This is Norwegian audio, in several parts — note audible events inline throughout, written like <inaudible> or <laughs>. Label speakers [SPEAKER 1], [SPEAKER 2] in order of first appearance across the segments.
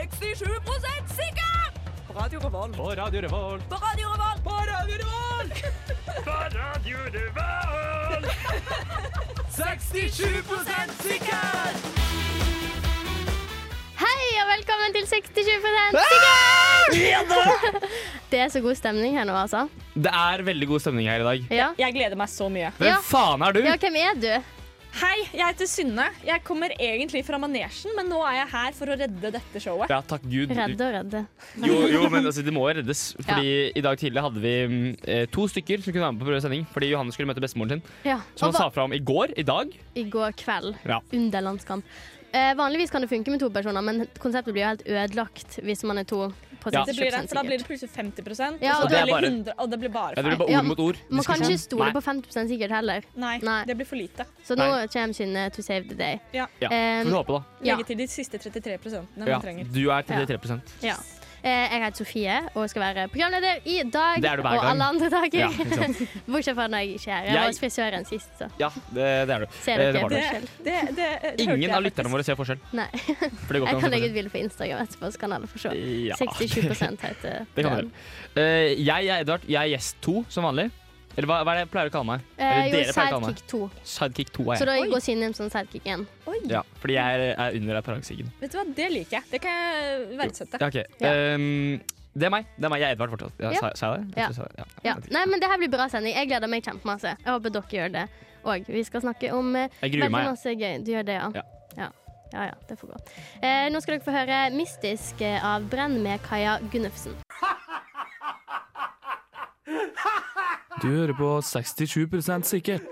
[SPEAKER 1] 67 sikker! På Radio Revolt.
[SPEAKER 2] På Radio Revolt.
[SPEAKER 1] På Radio Revolt. På Radio Revolt! <laughs>
[SPEAKER 2] 67 sikker!
[SPEAKER 3] Hei og velkommen til 60-20 sikkert! <laughs> Det er så god stemning her nå, altså.
[SPEAKER 2] Det er veldig god stemning her i dag.
[SPEAKER 3] Ja.
[SPEAKER 4] Jeg gleder meg så mye.
[SPEAKER 2] Hvem
[SPEAKER 3] Ja.
[SPEAKER 2] faen er du?
[SPEAKER 3] ja, hvem er du?
[SPEAKER 4] Hei, jeg heter Synne. Jeg kommer egentlig fra manesjen, men nå er jeg her for å redde dette showet.
[SPEAKER 2] Ja, takk Gud.
[SPEAKER 3] Redd og redd.
[SPEAKER 2] Jo, jo, men altså, det må jo reddes.
[SPEAKER 3] <laughs>
[SPEAKER 2] Fordi I dag tidlig hadde vi mm, eh, to stykker som kunne være med på prøvesending fordi Johanne skulle møte bestemoren sin.
[SPEAKER 3] Ja.
[SPEAKER 2] Som
[SPEAKER 3] Og
[SPEAKER 2] han
[SPEAKER 3] va
[SPEAKER 2] sa fra om i går. I dag.
[SPEAKER 3] I går kveld,
[SPEAKER 2] Ja.
[SPEAKER 3] under landskamp. Eh, vanligvis kan det funke med to personer, men konseptet blir jo helt ødelagt hvis man er to. på
[SPEAKER 2] Ja.
[SPEAKER 4] Det blir det,
[SPEAKER 3] 60%
[SPEAKER 4] for Da blir
[SPEAKER 3] sikkert.
[SPEAKER 4] det plutselig 50
[SPEAKER 3] Ja,
[SPEAKER 4] og, så
[SPEAKER 3] og
[SPEAKER 2] det er
[SPEAKER 4] blir
[SPEAKER 2] bare-
[SPEAKER 4] det 100, og det blir bare
[SPEAKER 2] Ja, det
[SPEAKER 4] feil.
[SPEAKER 2] blir bare ord
[SPEAKER 3] Ja,
[SPEAKER 2] mot ord.
[SPEAKER 3] Man kan
[SPEAKER 2] Diskusjon.
[SPEAKER 3] ikke stole
[SPEAKER 2] Nei.
[SPEAKER 3] på 50 sikkert heller,
[SPEAKER 4] Nei,
[SPEAKER 3] Nei.
[SPEAKER 4] det blir for lite.
[SPEAKER 3] så nå
[SPEAKER 2] Nei.
[SPEAKER 3] kommer Synne to save the day.
[SPEAKER 4] Ja.
[SPEAKER 2] Ja,
[SPEAKER 3] Eh,
[SPEAKER 2] Får vi håpe, da.
[SPEAKER 3] ja.
[SPEAKER 4] Legge til de siste 33 man
[SPEAKER 2] Ja,
[SPEAKER 4] trenger.
[SPEAKER 2] du er 33
[SPEAKER 3] Ja. Eh, jeg heter Sofie og skal være programleder i dag
[SPEAKER 2] Det er du hver
[SPEAKER 3] og
[SPEAKER 2] gang.
[SPEAKER 3] alle andre dager.
[SPEAKER 2] Ja, ikke sant.
[SPEAKER 3] <laughs> Bortsett fra når jeg ikke er her. Jeg
[SPEAKER 2] Jeg-
[SPEAKER 3] var hos frisøren sist, så
[SPEAKER 2] Ja, det, det er du.
[SPEAKER 3] ser
[SPEAKER 2] Eh,
[SPEAKER 3] dere
[SPEAKER 2] det var
[SPEAKER 4] Det,
[SPEAKER 2] du.
[SPEAKER 3] forskjell.
[SPEAKER 4] det, det, det hørte
[SPEAKER 2] Ingen
[SPEAKER 4] jeg
[SPEAKER 2] av lytterne
[SPEAKER 4] faktisk.
[SPEAKER 2] våre ser forskjell.
[SPEAKER 3] Nei.
[SPEAKER 2] For
[SPEAKER 3] <laughs>
[SPEAKER 2] det går
[SPEAKER 3] Jeg
[SPEAKER 2] ikke an å
[SPEAKER 3] kan
[SPEAKER 2] se
[SPEAKER 3] legge ut bilde på Instagram etterpå, så kan alle få se.
[SPEAKER 2] Ja.
[SPEAKER 3] 67
[SPEAKER 2] <laughs>
[SPEAKER 3] heter
[SPEAKER 2] Det kan dere. Eh, jeg er Edvard. Jeg er gjest to, som vanlig. Eller hva, hva er det jeg pleier å kalle meg?
[SPEAKER 3] Eh,
[SPEAKER 2] Eller
[SPEAKER 3] jo,
[SPEAKER 2] dere pleier å kalle meg.
[SPEAKER 3] sidekick 2.
[SPEAKER 2] Sidekick 2
[SPEAKER 3] Så
[SPEAKER 2] er jeg.
[SPEAKER 3] da
[SPEAKER 4] Oi.
[SPEAKER 3] går Synne inn som sidekick 1.
[SPEAKER 4] Oi,
[SPEAKER 2] Ja, fordi jeg er, er under referansesiggen.
[SPEAKER 4] Vet du hva, det liker jeg. Det kan jeg verdsette.
[SPEAKER 2] Ja, ok.
[SPEAKER 3] Ja.
[SPEAKER 2] Ehm, det er meg. Det er meg. Jeg er Edvard fortsatt. Ja,
[SPEAKER 3] Ja.
[SPEAKER 2] Sa, sa jeg det?
[SPEAKER 3] Ja.
[SPEAKER 2] Jeg tror jeg sa det.
[SPEAKER 3] Ja. Nei, men det her blir bra sending. Jeg gleder meg kjempemasse. Jeg håper dere gjør det òg. Vi skal snakke om eh,
[SPEAKER 2] Jeg gruer
[SPEAKER 3] veldig
[SPEAKER 2] meg.
[SPEAKER 3] masse gøy. Du gjør det, ja?
[SPEAKER 2] Ja.
[SPEAKER 3] Ja. Ja ja, det får gå. Eh, nå skal dere få høre 'Mystisk' eh, av Brenn med Kaja Gunnufsen.
[SPEAKER 5] Du hører på 67 sikkert.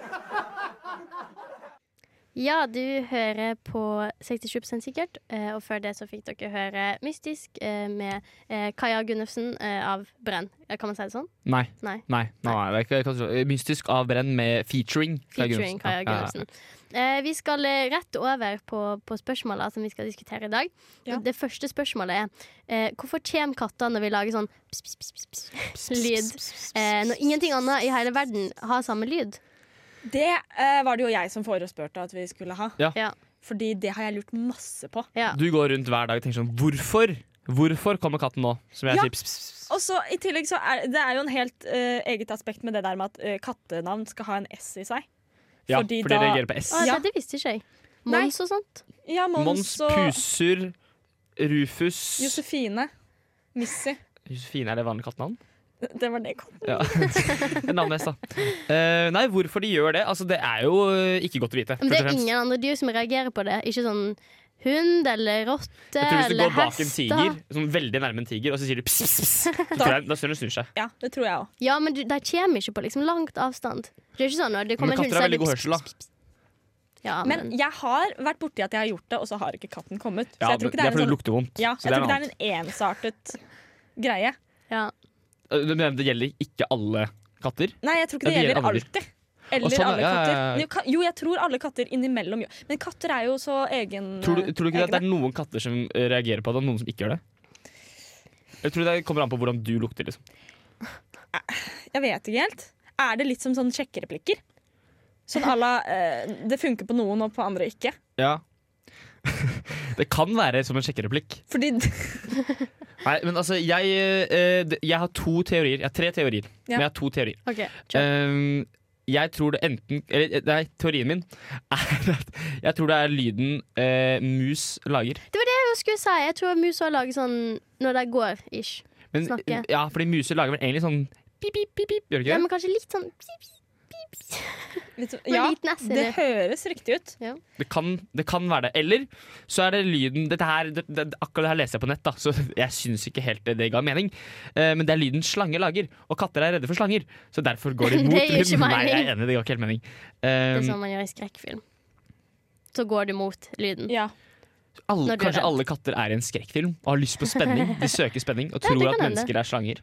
[SPEAKER 3] Ja, du hører på 67 sikkert, eh, og før det så fikk dere høre 'Mystisk' eh, med eh, Kaja Gunnufsen eh, av Brenn. Eh, Kan man si det sånn?
[SPEAKER 2] Nei.
[SPEAKER 3] Nei.
[SPEAKER 2] Nei. nei, nei, det er ikke- det er ikke- Mystisk av Brenn med featuring. Kaja Gunnarsen.
[SPEAKER 3] Featuring Kaja
[SPEAKER 2] Ja, ja, ja.
[SPEAKER 3] Gunnufsen. Eh, vi skal eh, rett over på, på spørsmåla som vi skal diskutere i dag.
[SPEAKER 4] Ja.
[SPEAKER 3] Og Det første spørsmålet er eh, hvorfor kommer katter når vi lager sånn pss, pss, pss, pss, pss, lyd? Eh, når ingenting annet i hele verden har samme lyd.
[SPEAKER 4] Det eh, var det jo jeg som forespurte at vi skulle ha.
[SPEAKER 2] Ja.
[SPEAKER 3] Ja.
[SPEAKER 4] Fordi det har jeg lurt masse på.
[SPEAKER 3] Ja.
[SPEAKER 2] Du går rundt hver dag og tenker sånn Hvorfor? Hvorfor kommer katten nå? Som jeg
[SPEAKER 4] Ja.
[SPEAKER 2] sier pss, pss, pss.
[SPEAKER 4] Og så i tillegg så er Det er jo en helt eh, eget aspekt med det der med at eh, kattenavn skal ha en S i seg.
[SPEAKER 2] Ja,
[SPEAKER 4] Fordi
[SPEAKER 2] for
[SPEAKER 4] da-
[SPEAKER 2] det reagerer på S.
[SPEAKER 3] Å,
[SPEAKER 4] Ja.
[SPEAKER 3] Dette visste ikke jeg.
[SPEAKER 4] Nei.
[SPEAKER 3] Mons og sånt.
[SPEAKER 4] Ja, Mons,
[SPEAKER 2] Mons,
[SPEAKER 4] og
[SPEAKER 2] Puser, Rufus
[SPEAKER 4] Josefine. Missy.
[SPEAKER 2] Josefine, er det vanlig kattenavn?
[SPEAKER 4] Det var det katten.
[SPEAKER 2] Ja. <laughs> Navnet S, da. Eh, nei, hvorfor de gjør det? Altså, det er jo eh, ikke godt å vite.
[SPEAKER 3] Men
[SPEAKER 2] først og
[SPEAKER 3] det er
[SPEAKER 2] fremst.
[SPEAKER 3] ingen andre dyr som reagerer på det. Ikke sånn hund eller rotte
[SPEAKER 2] Jeg tror Hvis du
[SPEAKER 3] eh, eller
[SPEAKER 2] går bak en tiger,
[SPEAKER 3] hester.
[SPEAKER 2] sånn veldig nærme en tiger, og så sier du pss, pss, pss, så tror jeg, da tror jeg den snur seg.
[SPEAKER 4] Ja, det tror jeg òg.
[SPEAKER 3] Ja, men du, de kommer ikke på liksom langt avstand. Det er ikke sånn når det
[SPEAKER 2] Men
[SPEAKER 3] kommer en
[SPEAKER 2] katter
[SPEAKER 3] hund,
[SPEAKER 2] har
[SPEAKER 3] så er
[SPEAKER 2] veldig
[SPEAKER 3] det
[SPEAKER 2] god
[SPEAKER 3] pss,
[SPEAKER 2] hørsel, da.
[SPEAKER 3] Ja, men,
[SPEAKER 4] Men jeg har vært borti at jeg har gjort det, og så har ikke katten kommet.
[SPEAKER 2] Ja,
[SPEAKER 4] så jeg tror ikke
[SPEAKER 2] men det
[SPEAKER 4] det er,
[SPEAKER 2] er
[SPEAKER 4] en
[SPEAKER 2] fordi det
[SPEAKER 4] sånn,
[SPEAKER 2] lukter vondt.
[SPEAKER 4] ja,
[SPEAKER 2] så
[SPEAKER 4] jeg
[SPEAKER 2] det
[SPEAKER 4] tror
[SPEAKER 2] er
[SPEAKER 4] ikke
[SPEAKER 2] noe
[SPEAKER 4] det er en ensartet greie.
[SPEAKER 3] ja.
[SPEAKER 2] annet. Eh, Men det gjelder ikke alle katter.
[SPEAKER 4] Nei, jeg tror ikke
[SPEAKER 2] Ja,
[SPEAKER 4] det
[SPEAKER 2] det
[SPEAKER 4] gjelder
[SPEAKER 2] gjelder alle dyr.
[SPEAKER 4] alltid. Eller
[SPEAKER 2] Å, sånn,
[SPEAKER 4] alle
[SPEAKER 2] ja, ja,
[SPEAKER 4] katter.
[SPEAKER 2] ja, ja.
[SPEAKER 4] Jo, ka- Jo, jeg tror alle katter innimellom gjør Men katter er jo så egen eh,
[SPEAKER 2] Tror du, tror du ikke det, at
[SPEAKER 4] egne.
[SPEAKER 2] det er noen katter som eh, reagerer på det, og noen som ikke gjør det? Jeg tror det kommer an på hvordan du lukter, liksom.
[SPEAKER 4] Jeg vet ikke helt. Er det litt som sånn sjekkereplikker? Sånn à la eh, Det funker på noen og på andre ikke.
[SPEAKER 2] Ja. <laughs> det kan være som en sjekkereplikk.
[SPEAKER 4] Fordi <laughs>
[SPEAKER 2] Nei, men altså, jeg, eh, det- jeg har to teorier. Jeg har tre teorier,
[SPEAKER 4] Ja.
[SPEAKER 2] men jeg har to teorier.
[SPEAKER 3] OK.
[SPEAKER 2] Ehm, jeg tror det enten Eller eh, nei, teorien min <laughs> er at jeg tror det er lyden eh, mus lager.
[SPEAKER 3] Hva skulle jeg si? Jeg tror musa lager sånn når de går, ish.
[SPEAKER 2] Men,
[SPEAKER 3] Snakke.
[SPEAKER 2] ja, fordi muser lager vel egentlig sånn pip, pip, pip, pip, gjør det
[SPEAKER 3] Ja,
[SPEAKER 2] ikke det?
[SPEAKER 3] men kanskje litt sånn
[SPEAKER 4] Vet du-
[SPEAKER 3] Med
[SPEAKER 4] Ja,
[SPEAKER 3] liten S inni.
[SPEAKER 4] det høres riktig ut.
[SPEAKER 2] Det kan, det kan være det. Eller så er det lyden dette her, det, det, Akkurat det her leser jeg på nett, da, så <laughs> jeg syns ikke helt det, det ga mening. Eh, men det er lyden slange lager, og katter er redde for slanger. Så derfor går
[SPEAKER 3] <laughs>
[SPEAKER 2] de
[SPEAKER 3] Det
[SPEAKER 2] mot
[SPEAKER 3] gir ikke
[SPEAKER 2] lyden. Nei,
[SPEAKER 3] mening.
[SPEAKER 2] jeg er enig, det ga ikke helt mening.
[SPEAKER 3] Det er
[SPEAKER 2] Ehm,
[SPEAKER 3] sånn man gjør i skrekkfilm. Så går du mot lyden.
[SPEAKER 4] Ja.
[SPEAKER 2] alle,
[SPEAKER 3] når du er
[SPEAKER 2] kanskje
[SPEAKER 3] redd.
[SPEAKER 2] alle katter er i en skrekkfilm og har lyst på spenning.
[SPEAKER 3] <laughs>
[SPEAKER 2] De søker spenning og
[SPEAKER 3] Ja, det
[SPEAKER 2] tror at
[SPEAKER 3] kan hende.
[SPEAKER 2] mennesker er slanger.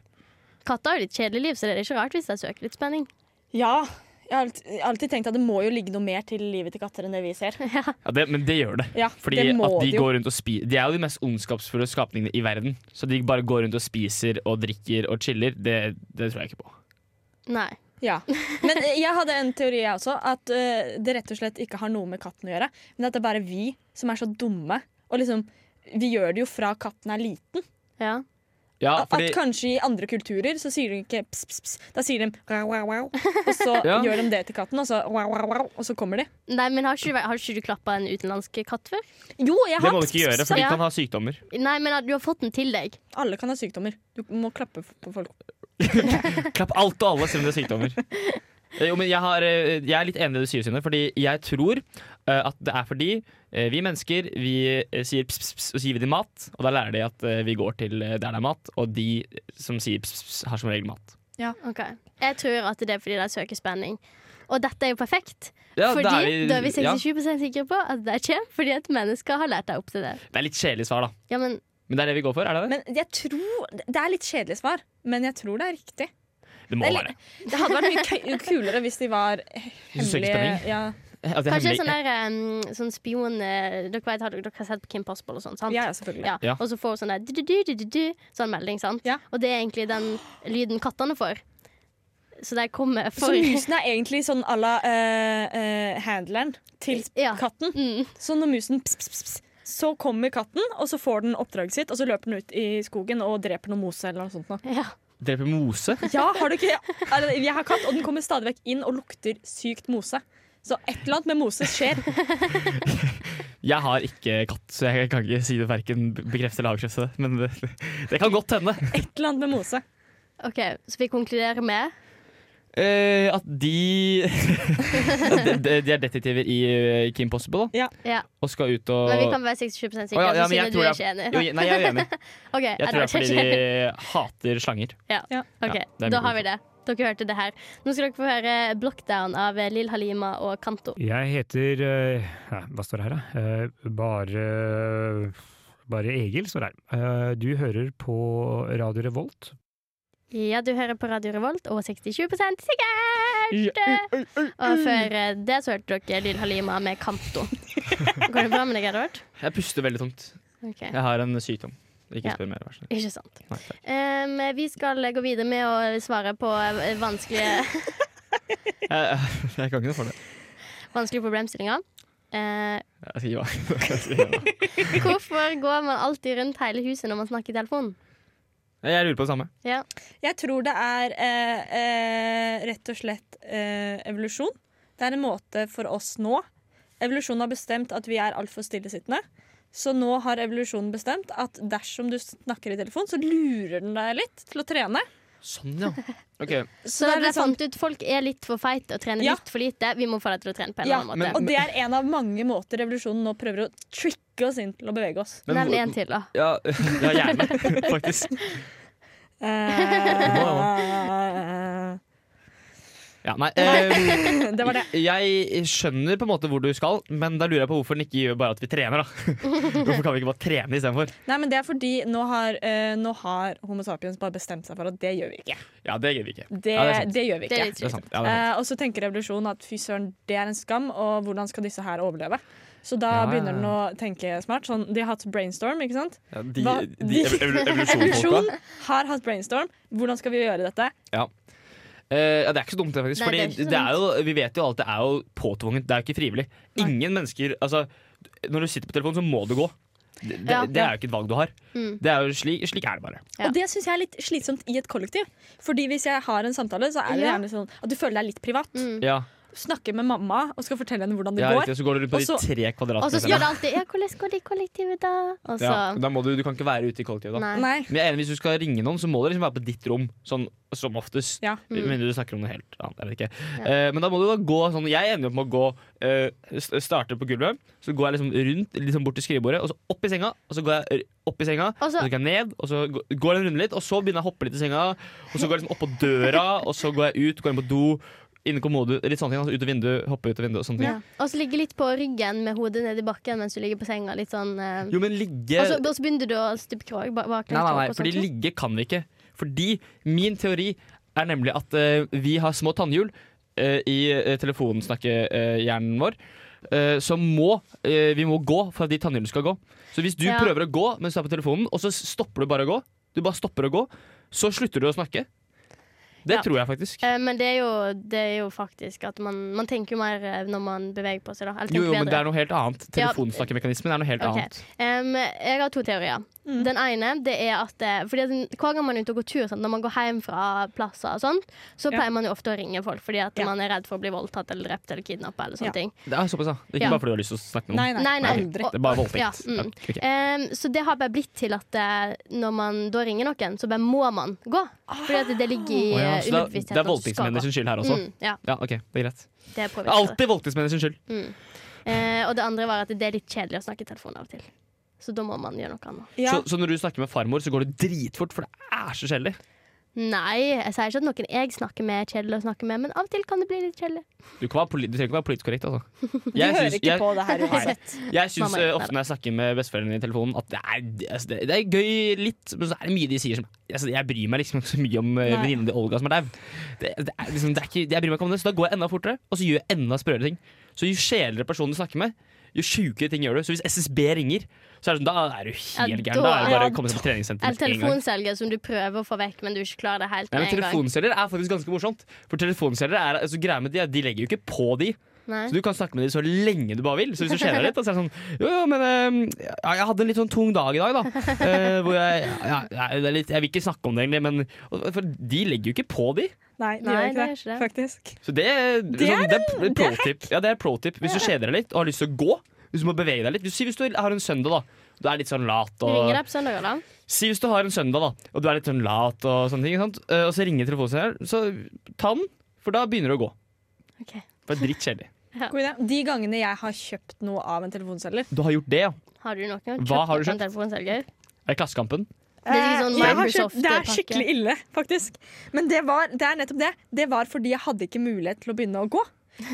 [SPEAKER 3] Katter har jo litt kjedelig liv, så det er ikke rart hvis de søker litt spenning.
[SPEAKER 4] ja. Jeg har alt- jeg har alltid tenkt at det må jo ligge noe mer til livet til katter enn det vi
[SPEAKER 2] <laughs>
[SPEAKER 4] ser.
[SPEAKER 2] Ja, det, men det gjør det.
[SPEAKER 4] Ja,
[SPEAKER 2] Fordi
[SPEAKER 4] det må
[SPEAKER 2] at
[SPEAKER 4] det
[SPEAKER 2] de
[SPEAKER 4] jo.
[SPEAKER 2] går rundt og spiser De er jo de mest ondskapsfulle skapningene i verden. Så de bare går rundt og spiser og drikker og chiller. Det, det tror jeg ikke på.
[SPEAKER 3] Nei.
[SPEAKER 4] Ja. Men eh, jeg hadde en teori jeg også, at eh, det rett og slett ikke har noe med katten å gjøre. Men at det er bare vi som er så dumme og liksom vi gjør det jo fra katten er liten.
[SPEAKER 3] Ja.
[SPEAKER 2] Ja, fordi,
[SPEAKER 4] At kanskje i andre kulturer så sier de ikke ps, ps, ps. Da sier de wow, wow, wow. Og
[SPEAKER 2] <laughs>
[SPEAKER 4] så
[SPEAKER 2] Ja.
[SPEAKER 4] gjør de det til katten, og så wow, wow, wow, og så kommer de.
[SPEAKER 3] Nei, men har ikke, du vært- har ikke du klappa en utenlandsk katt før?
[SPEAKER 4] Jo, jeg
[SPEAKER 2] det
[SPEAKER 4] har
[SPEAKER 2] må du ikke gjøre, for de
[SPEAKER 3] Ja.
[SPEAKER 2] kan ha sykdommer.
[SPEAKER 3] Nei, men at du har fått den til deg.
[SPEAKER 4] Alle kan ha sykdommer. Du må klappe f- på folk.
[SPEAKER 2] Klapp alt og alle, selv om det er
[SPEAKER 4] <laughs>
[SPEAKER 2] sykdommer. Eh, Jo, men jeg, har, eh, jeg er litt enig i det du sier, Synne. Fordi jeg tror eh, at det er fordi eh, vi mennesker vi eh, sier pss, pss, pss, og så gir vi dem mat. Og da lærer de at eh, vi går til eh, der det er mat, og de som sier pss, pss, pss, har som regel mat.
[SPEAKER 3] Ok. Jeg tror at det er fordi de søker spenning. Og dette er jo perfekt,
[SPEAKER 2] Ja,
[SPEAKER 3] fordi
[SPEAKER 2] da
[SPEAKER 3] da
[SPEAKER 2] er
[SPEAKER 3] er,
[SPEAKER 2] de-
[SPEAKER 3] vi
[SPEAKER 2] ja.
[SPEAKER 3] 67 sikre på at det skjer fordi at mennesker har lært deg opp til det.
[SPEAKER 2] Det er litt kjedelig svar, da.
[SPEAKER 3] Ja, men
[SPEAKER 2] Men det er det vi går for? er Det det?
[SPEAKER 4] Men jeg tror Det er litt kjedelig svar, men jeg tror det er riktig.
[SPEAKER 2] Det må
[SPEAKER 4] Eller-
[SPEAKER 2] være det.
[SPEAKER 4] Det hadde vært mye kø- kulere hvis de var
[SPEAKER 2] Hvis du søker
[SPEAKER 4] hemmelige.
[SPEAKER 2] spenning.
[SPEAKER 4] Ja,
[SPEAKER 2] At det er
[SPEAKER 3] Kanskje
[SPEAKER 2] hemmelig.
[SPEAKER 3] sånn der em, sånn spion eh, Dere vet, har dere har sett på Kim Possible og sånn, sant?
[SPEAKER 4] ja, ja, selvfølgelig.
[SPEAKER 3] Ja,
[SPEAKER 2] Ja.
[SPEAKER 3] Og så får hun sånn der du-du-du-du-du, sånn melding, sant?
[SPEAKER 4] Ja.
[SPEAKER 3] Og det er egentlig den lyden kattene får. Så de kommer
[SPEAKER 4] Så
[SPEAKER 3] for
[SPEAKER 4] musen er egentlig sånn à la eh, eh, handleren til
[SPEAKER 3] Ja.
[SPEAKER 4] katten.
[SPEAKER 3] <laughs> Mm.
[SPEAKER 4] Så når musen pss, pss, pss, pss, så kommer katten, og så får den oppdraget sitt, og så løper den ut i skogen og dreper noe mose eller noe sånt. Nå.
[SPEAKER 3] Ja.
[SPEAKER 2] Dreper mose?
[SPEAKER 4] Ja, har du ikke? Eller, Jeg har katt, og den kommer stadig vekk inn og lukter sykt mose. Så et eller annet med mose skjer.
[SPEAKER 2] Jeg har ikke katt, så jeg kan ikke si det verken bekrefte eller avkrefte. det, Men det, <laughs> det kan godt hende.
[SPEAKER 4] Et eller annet med mose.
[SPEAKER 3] OK, så vi konkluderer med
[SPEAKER 2] Eh, at de <laughs> de, de de er detektiver i eh, Kim Possible, da.
[SPEAKER 4] Ja.
[SPEAKER 3] Ja.
[SPEAKER 2] Og skal ut og
[SPEAKER 3] Men vi kan være 67 sikre,
[SPEAKER 2] Å, ja, ja,
[SPEAKER 3] så
[SPEAKER 2] men jeg
[SPEAKER 3] siden du
[SPEAKER 2] tror
[SPEAKER 3] er
[SPEAKER 2] jeg-
[SPEAKER 3] ikke enig.
[SPEAKER 2] jo, Nei, jeg er
[SPEAKER 3] <laughs>
[SPEAKER 2] uenig.
[SPEAKER 3] OK,
[SPEAKER 2] Jeg tror det er fordi
[SPEAKER 3] ikke enig.
[SPEAKER 2] de hater slanger.
[SPEAKER 3] Ja.
[SPEAKER 4] Ja.
[SPEAKER 3] Ok,
[SPEAKER 2] Ja, det er
[SPEAKER 3] da
[SPEAKER 2] mye
[SPEAKER 3] har vi det. Dere hørte det her. Nå skal dere få høre 'Blockdown' av eh, Lill Halima og Kanto.
[SPEAKER 6] Jeg heter eh, nei, Hva står det her, da? Eh, Bare Bare Egil står det her. Eh, Du hører på Radio Revolt.
[SPEAKER 3] Ja, du hører på Radio Revolt og 67 sikkert! Og før eh, det så hørte dere Lill Halima
[SPEAKER 2] <laughs>
[SPEAKER 3] med Kanto. Går det bra med deg, Edvard?
[SPEAKER 2] Jeg puster veldig tungt.
[SPEAKER 3] Ok,
[SPEAKER 2] Jeg har en sykdom. Ikke
[SPEAKER 3] Ja.
[SPEAKER 2] spør mer, vær så snill.
[SPEAKER 3] Ikke sant.
[SPEAKER 2] Nei, takk.
[SPEAKER 3] Em, vi skal gå videre med å svare på eh, vanskelige,
[SPEAKER 2] Jeg, <laughs> jeg kan ikke noe for det.
[SPEAKER 3] vanskelige problemstillinger. Eh,
[SPEAKER 2] Jeg sier ja. Jeg sier ja.
[SPEAKER 3] hvorfor går man alltid rundt hele huset når man snakker i telefonen?
[SPEAKER 2] <laughs> Jeg lurer på det samme.
[SPEAKER 3] Ja.
[SPEAKER 4] Jeg tror det er eh, eh, rett og slett eh, evolusjon. Det er en måte for oss nå. Evolusjonen har bestemt at vi er altfor stillesittende. Så nå har evolusjonen bestemt at dersom du snakker i telefon, så lurer den deg litt til å trene.
[SPEAKER 2] Sånn, ja. Ok,
[SPEAKER 3] Så,
[SPEAKER 4] Så det er
[SPEAKER 3] det
[SPEAKER 4] litt
[SPEAKER 3] er
[SPEAKER 4] sånn,
[SPEAKER 3] fant ut folk er litt for feite og trener
[SPEAKER 4] Ja.
[SPEAKER 3] litt for lite. Vi må få deg til å trene på en
[SPEAKER 4] Ja,
[SPEAKER 3] eller annen
[SPEAKER 2] men-
[SPEAKER 3] måte.
[SPEAKER 4] og det er en av mange måter revolusjonen nå prøver å tricke oss inn til å bevege oss.
[SPEAKER 2] men
[SPEAKER 3] Nevn
[SPEAKER 2] hvor-
[SPEAKER 3] en til, da.
[SPEAKER 2] Ja, ja gjerne, faktisk. Ja, nei, eh,
[SPEAKER 4] <laughs> det var det.
[SPEAKER 2] jeg skjønner på en måte hvor du skal, men da lurer jeg på hvorfor den ikke gjør bare at vi trener. da Hvorfor kan vi ikke bare trene istedenfor?
[SPEAKER 4] Nei, men det er fordi nå har, eh, nå har Homo sapiens bare bestemt seg for at det gjør vi ikke.
[SPEAKER 2] Ja, det gidder vi ikke.
[SPEAKER 4] Det,
[SPEAKER 2] Ja, det er
[SPEAKER 4] det,
[SPEAKER 2] sant.
[SPEAKER 4] gjør vi
[SPEAKER 3] Det
[SPEAKER 4] ikke.
[SPEAKER 3] er litt
[SPEAKER 2] Det er
[SPEAKER 3] trist.
[SPEAKER 2] sant. Ja, det er sant.
[SPEAKER 4] Eh, og så tenker revolusjonen at fy søren, det er en skam, og hvordan skal disse her overleve? Så da
[SPEAKER 2] Ja, ja, ja.
[SPEAKER 4] begynner den å tenke smart. Sånn, de har hatt brainstorm, ikke sant?
[SPEAKER 2] Ja, de,
[SPEAKER 4] hva-
[SPEAKER 2] de ev- ev- evolusjonsfolka.
[SPEAKER 4] Revolusjonen har hatt brainstorm. Hvordan skal vi gjøre dette?
[SPEAKER 2] Eh, ja, det er ikke så dumt, det, faktisk.
[SPEAKER 3] Nei,
[SPEAKER 2] Fordi
[SPEAKER 3] det er ikke så
[SPEAKER 2] det er jo, vi vet jo alt, det er jo påtvunget. Det er jo ikke frivillig. Ingen mennesker Altså, når du sitter på telefonen, så må du gå. Det, det,
[SPEAKER 3] Ja.
[SPEAKER 2] det er jo ikke et valg du har.
[SPEAKER 3] Mm.
[SPEAKER 2] Det er jo slik, slik er det bare.
[SPEAKER 3] Ja.
[SPEAKER 4] Og det syns jeg er litt slitsomt i et kollektiv. Fordi hvis jeg har en samtale, så er det
[SPEAKER 3] Ja.
[SPEAKER 4] gjerne sånn at du føler deg litt privat.
[SPEAKER 3] Mm.
[SPEAKER 2] Ja,
[SPEAKER 4] Snakker med mamma og skal fortelle henne hvordan det
[SPEAKER 2] ja
[SPEAKER 4] går.
[SPEAKER 2] riktig, Så går du rundt på
[SPEAKER 4] Og så-
[SPEAKER 2] de tre
[SPEAKER 3] Og
[SPEAKER 2] kvadratmeterne.
[SPEAKER 3] så spør det alltid ja, 'Hvordan går det i kollektivet, da?' Og så
[SPEAKER 2] Ja, da må du, du kan ikke være ute i kollektivet. da
[SPEAKER 3] Nei.
[SPEAKER 4] Nei.
[SPEAKER 2] Men jeg er enig, Hvis du skal ringe noen, så må det liksom være på ditt rom. Sånn som oftest.
[SPEAKER 4] Ja.
[SPEAKER 2] Med mindre du snakker om noe helt annet. Jeg vet ikke.
[SPEAKER 3] Mm. Ja.
[SPEAKER 2] Eh, men da må du da gå sånn Jeg ender opp med å gå eh, st- Starte på gulvet, så går jeg liksom rundt liksom bort til skrivebordet, og så opp i senga. Og så går jeg r- opp i senga,
[SPEAKER 3] Og så-
[SPEAKER 2] og så går jeg ned, og så gå- går jeg en runde litt, og så begynner jeg å hoppe litt i senga. Og så går jeg liksom opp på døra, og så går jeg ut, går inn på do, inn i kommode, litt sånne ting. Altså ut av vinduet, hoppe ut av vinduet og sånne ting.
[SPEAKER 3] Ja. Og så ligge litt på ryggen med hodet nedi bakken mens du ligger på senga. Litt sånn eh,
[SPEAKER 2] Jo, men ligge
[SPEAKER 3] og, så, og så begynner du å stupe krog ba- baklengs.
[SPEAKER 2] Nei, nei,
[SPEAKER 3] krog
[SPEAKER 2] nei,
[SPEAKER 3] og sånn,
[SPEAKER 2] fordi
[SPEAKER 3] sånt.
[SPEAKER 2] ligge kan vi ikke. Fordi min teori er nemlig at eh, vi har små tannhjul eh, i eh, telefonsnakkehjernen vår. eh, som må eh, Vi må gå for at de tannhjulene skal gå. Så hvis du
[SPEAKER 3] Ja.
[SPEAKER 2] prøver å gå mens du er på telefonen, og så stopper du bare å gå, du bare stopper å gå, så slutter du å snakke. Det
[SPEAKER 3] Ja.
[SPEAKER 2] tror jeg faktisk.
[SPEAKER 3] Eh, Men det er, jo, det er jo faktisk at man, man tenker jo mer eh, når man beveger på seg, da. Eller
[SPEAKER 2] Jo,
[SPEAKER 3] tenker
[SPEAKER 2] jo, men det
[SPEAKER 3] bedre.
[SPEAKER 2] er noe helt annet.
[SPEAKER 3] Ja.
[SPEAKER 2] Telefonsnakkemekanismen er noe helt
[SPEAKER 3] Ok.
[SPEAKER 2] annet.
[SPEAKER 3] Em, jeg har to teorier.
[SPEAKER 4] Mm.
[SPEAKER 3] Den ene det er at eh, Fordi at Hver gang man er ute og går tur, sant, når man går hjem fra plasser, og sånt, så
[SPEAKER 4] Ja.
[SPEAKER 3] pleier man jo ofte å ringe folk fordi at
[SPEAKER 4] Ja.
[SPEAKER 3] man er redd for å bli voldtatt eller drept eller kidnappa. Eller
[SPEAKER 4] Ja.
[SPEAKER 3] sånne ting.
[SPEAKER 2] Det er såpass, da. Det er ikke
[SPEAKER 3] Ja.
[SPEAKER 2] bare fordi du har lyst til å snakke med noen.
[SPEAKER 4] Nei, nei.
[SPEAKER 3] Nei, nei.
[SPEAKER 4] Aldri.
[SPEAKER 3] Og-
[SPEAKER 2] Det er bare voldtekt.
[SPEAKER 3] Ja, mm.
[SPEAKER 2] Ok, ok.
[SPEAKER 3] Em, så det har bare blitt til at eh, når man da ringer noen, så bare må man gå. Fordi at det ligger i
[SPEAKER 4] Ah!
[SPEAKER 2] Å ja,
[SPEAKER 3] eh,
[SPEAKER 2] så det er,
[SPEAKER 3] underbevisstheten
[SPEAKER 2] det
[SPEAKER 3] at
[SPEAKER 2] er
[SPEAKER 3] du skal gå.
[SPEAKER 2] voldtektsmennenes skyld her også?
[SPEAKER 3] Mm, ja,
[SPEAKER 2] Ja, ok, det er greit.
[SPEAKER 3] det
[SPEAKER 2] Det
[SPEAKER 3] påvirker
[SPEAKER 2] er
[SPEAKER 3] det.
[SPEAKER 2] alltid voldtektsmennenes skyld.
[SPEAKER 3] Mm. Eh, og det andre var at det er litt kjedelig å snakke i telefonen av og til. Så da må man gjøre noe annet.
[SPEAKER 4] Ja.
[SPEAKER 2] Så, så når du snakker med farmor, så går det dritfort, for det er så kjedelig.
[SPEAKER 3] Nei, jeg sier ikke at noen jeg snakker med, er kjedelig å snakke med, men av og til kan det bli litt kjedelig.
[SPEAKER 2] Du, kan være poli- du trenger ikke være politisk korrekt, altså.
[SPEAKER 4] Du hører
[SPEAKER 2] syns-
[SPEAKER 4] ikke
[SPEAKER 2] jeg,
[SPEAKER 4] på det her uansett.
[SPEAKER 2] jeg syns
[SPEAKER 3] Mamma
[SPEAKER 2] eh,
[SPEAKER 3] gjør det.
[SPEAKER 2] ofte når jeg snakker med besteforeldrene i telefonen, at det er, altså, det, det er gøy litt, men så er det mye de sier som altså, Jeg bryr meg liksom ikke så mye om eh,
[SPEAKER 4] Nei.
[SPEAKER 2] venninnen til Olga som er dau. Det, det er liksom, det er ikke- jeg bryr meg ikke om det, så da går jeg enda fortere, og så gjør jeg enda sprøere ting. Så jo kjedeligere personen du snakker med, jo sjukere ting gjør du. Så hvis SSB ringer, så er det sånn, da er du helt
[SPEAKER 3] Ja,
[SPEAKER 2] gæren. Da er det
[SPEAKER 4] da-
[SPEAKER 2] bare å komme seg på
[SPEAKER 3] Eller
[SPEAKER 2] treningssenteret med en gang.
[SPEAKER 3] telefonselger som du prøver å få vekk, men du ikke klarer det helt
[SPEAKER 2] Nei, men
[SPEAKER 3] med en gang.
[SPEAKER 2] Telefonselgere er faktisk ganske morsomt. For telefonselgere er, altså, greia med de, er at de legger jo ikke på de.
[SPEAKER 3] Nei.
[SPEAKER 2] Så du kan snakke med de så lenge du bare vil. Så hvis du kjeder deg litt, da, så er det sånn Jo, jo, men eh, ja, jeg hadde en litt sånn tung dag i dag, da. Eh, hvor jeg ja, ja, det er litt, Jeg vil ikke snakke om det, egentlig, men og- For de legger jo ikke på de.
[SPEAKER 4] Nei, de gjør
[SPEAKER 3] Nei,
[SPEAKER 4] ikke
[SPEAKER 3] det
[SPEAKER 4] det,
[SPEAKER 3] gjør ikke
[SPEAKER 4] faktisk.
[SPEAKER 2] Så det,
[SPEAKER 4] Det er
[SPEAKER 2] sånn, det er pro tip. Ja, det er pro tip. Hvis du kjeder deg litt og har lyst til å gå, hvis du må bevege deg litt Hvis, si hvis du har en søndag, da. Du er litt sånn lat
[SPEAKER 3] Du
[SPEAKER 2] og
[SPEAKER 3] ringer deg på søndager, da.
[SPEAKER 2] Si hvis du har en søndag, da, og du er litt sånn lat, og sånne ting, ikke sant? Eh, og så ringer telefonselgeren, så ta den, for da begynner du å gå.
[SPEAKER 3] Ok.
[SPEAKER 2] Det er drittkjedelig.
[SPEAKER 4] God idé. De gangene jeg har kjøpt noe av en telefonselger
[SPEAKER 2] Du har gjort det, ja.
[SPEAKER 3] Har du noen gang
[SPEAKER 2] Hva har du kjøpt?
[SPEAKER 3] kjøpt noe av en telefonselger?
[SPEAKER 2] Er det Klassekampen?
[SPEAKER 3] Det er ikke sånn
[SPEAKER 4] Eh, jeg har kjøpt-
[SPEAKER 3] Microsoft-pakke.
[SPEAKER 4] det er skikkelig ille, faktisk. Men det, var, det er nettopp det. Det var fordi jeg hadde ikke mulighet til å begynne å gå.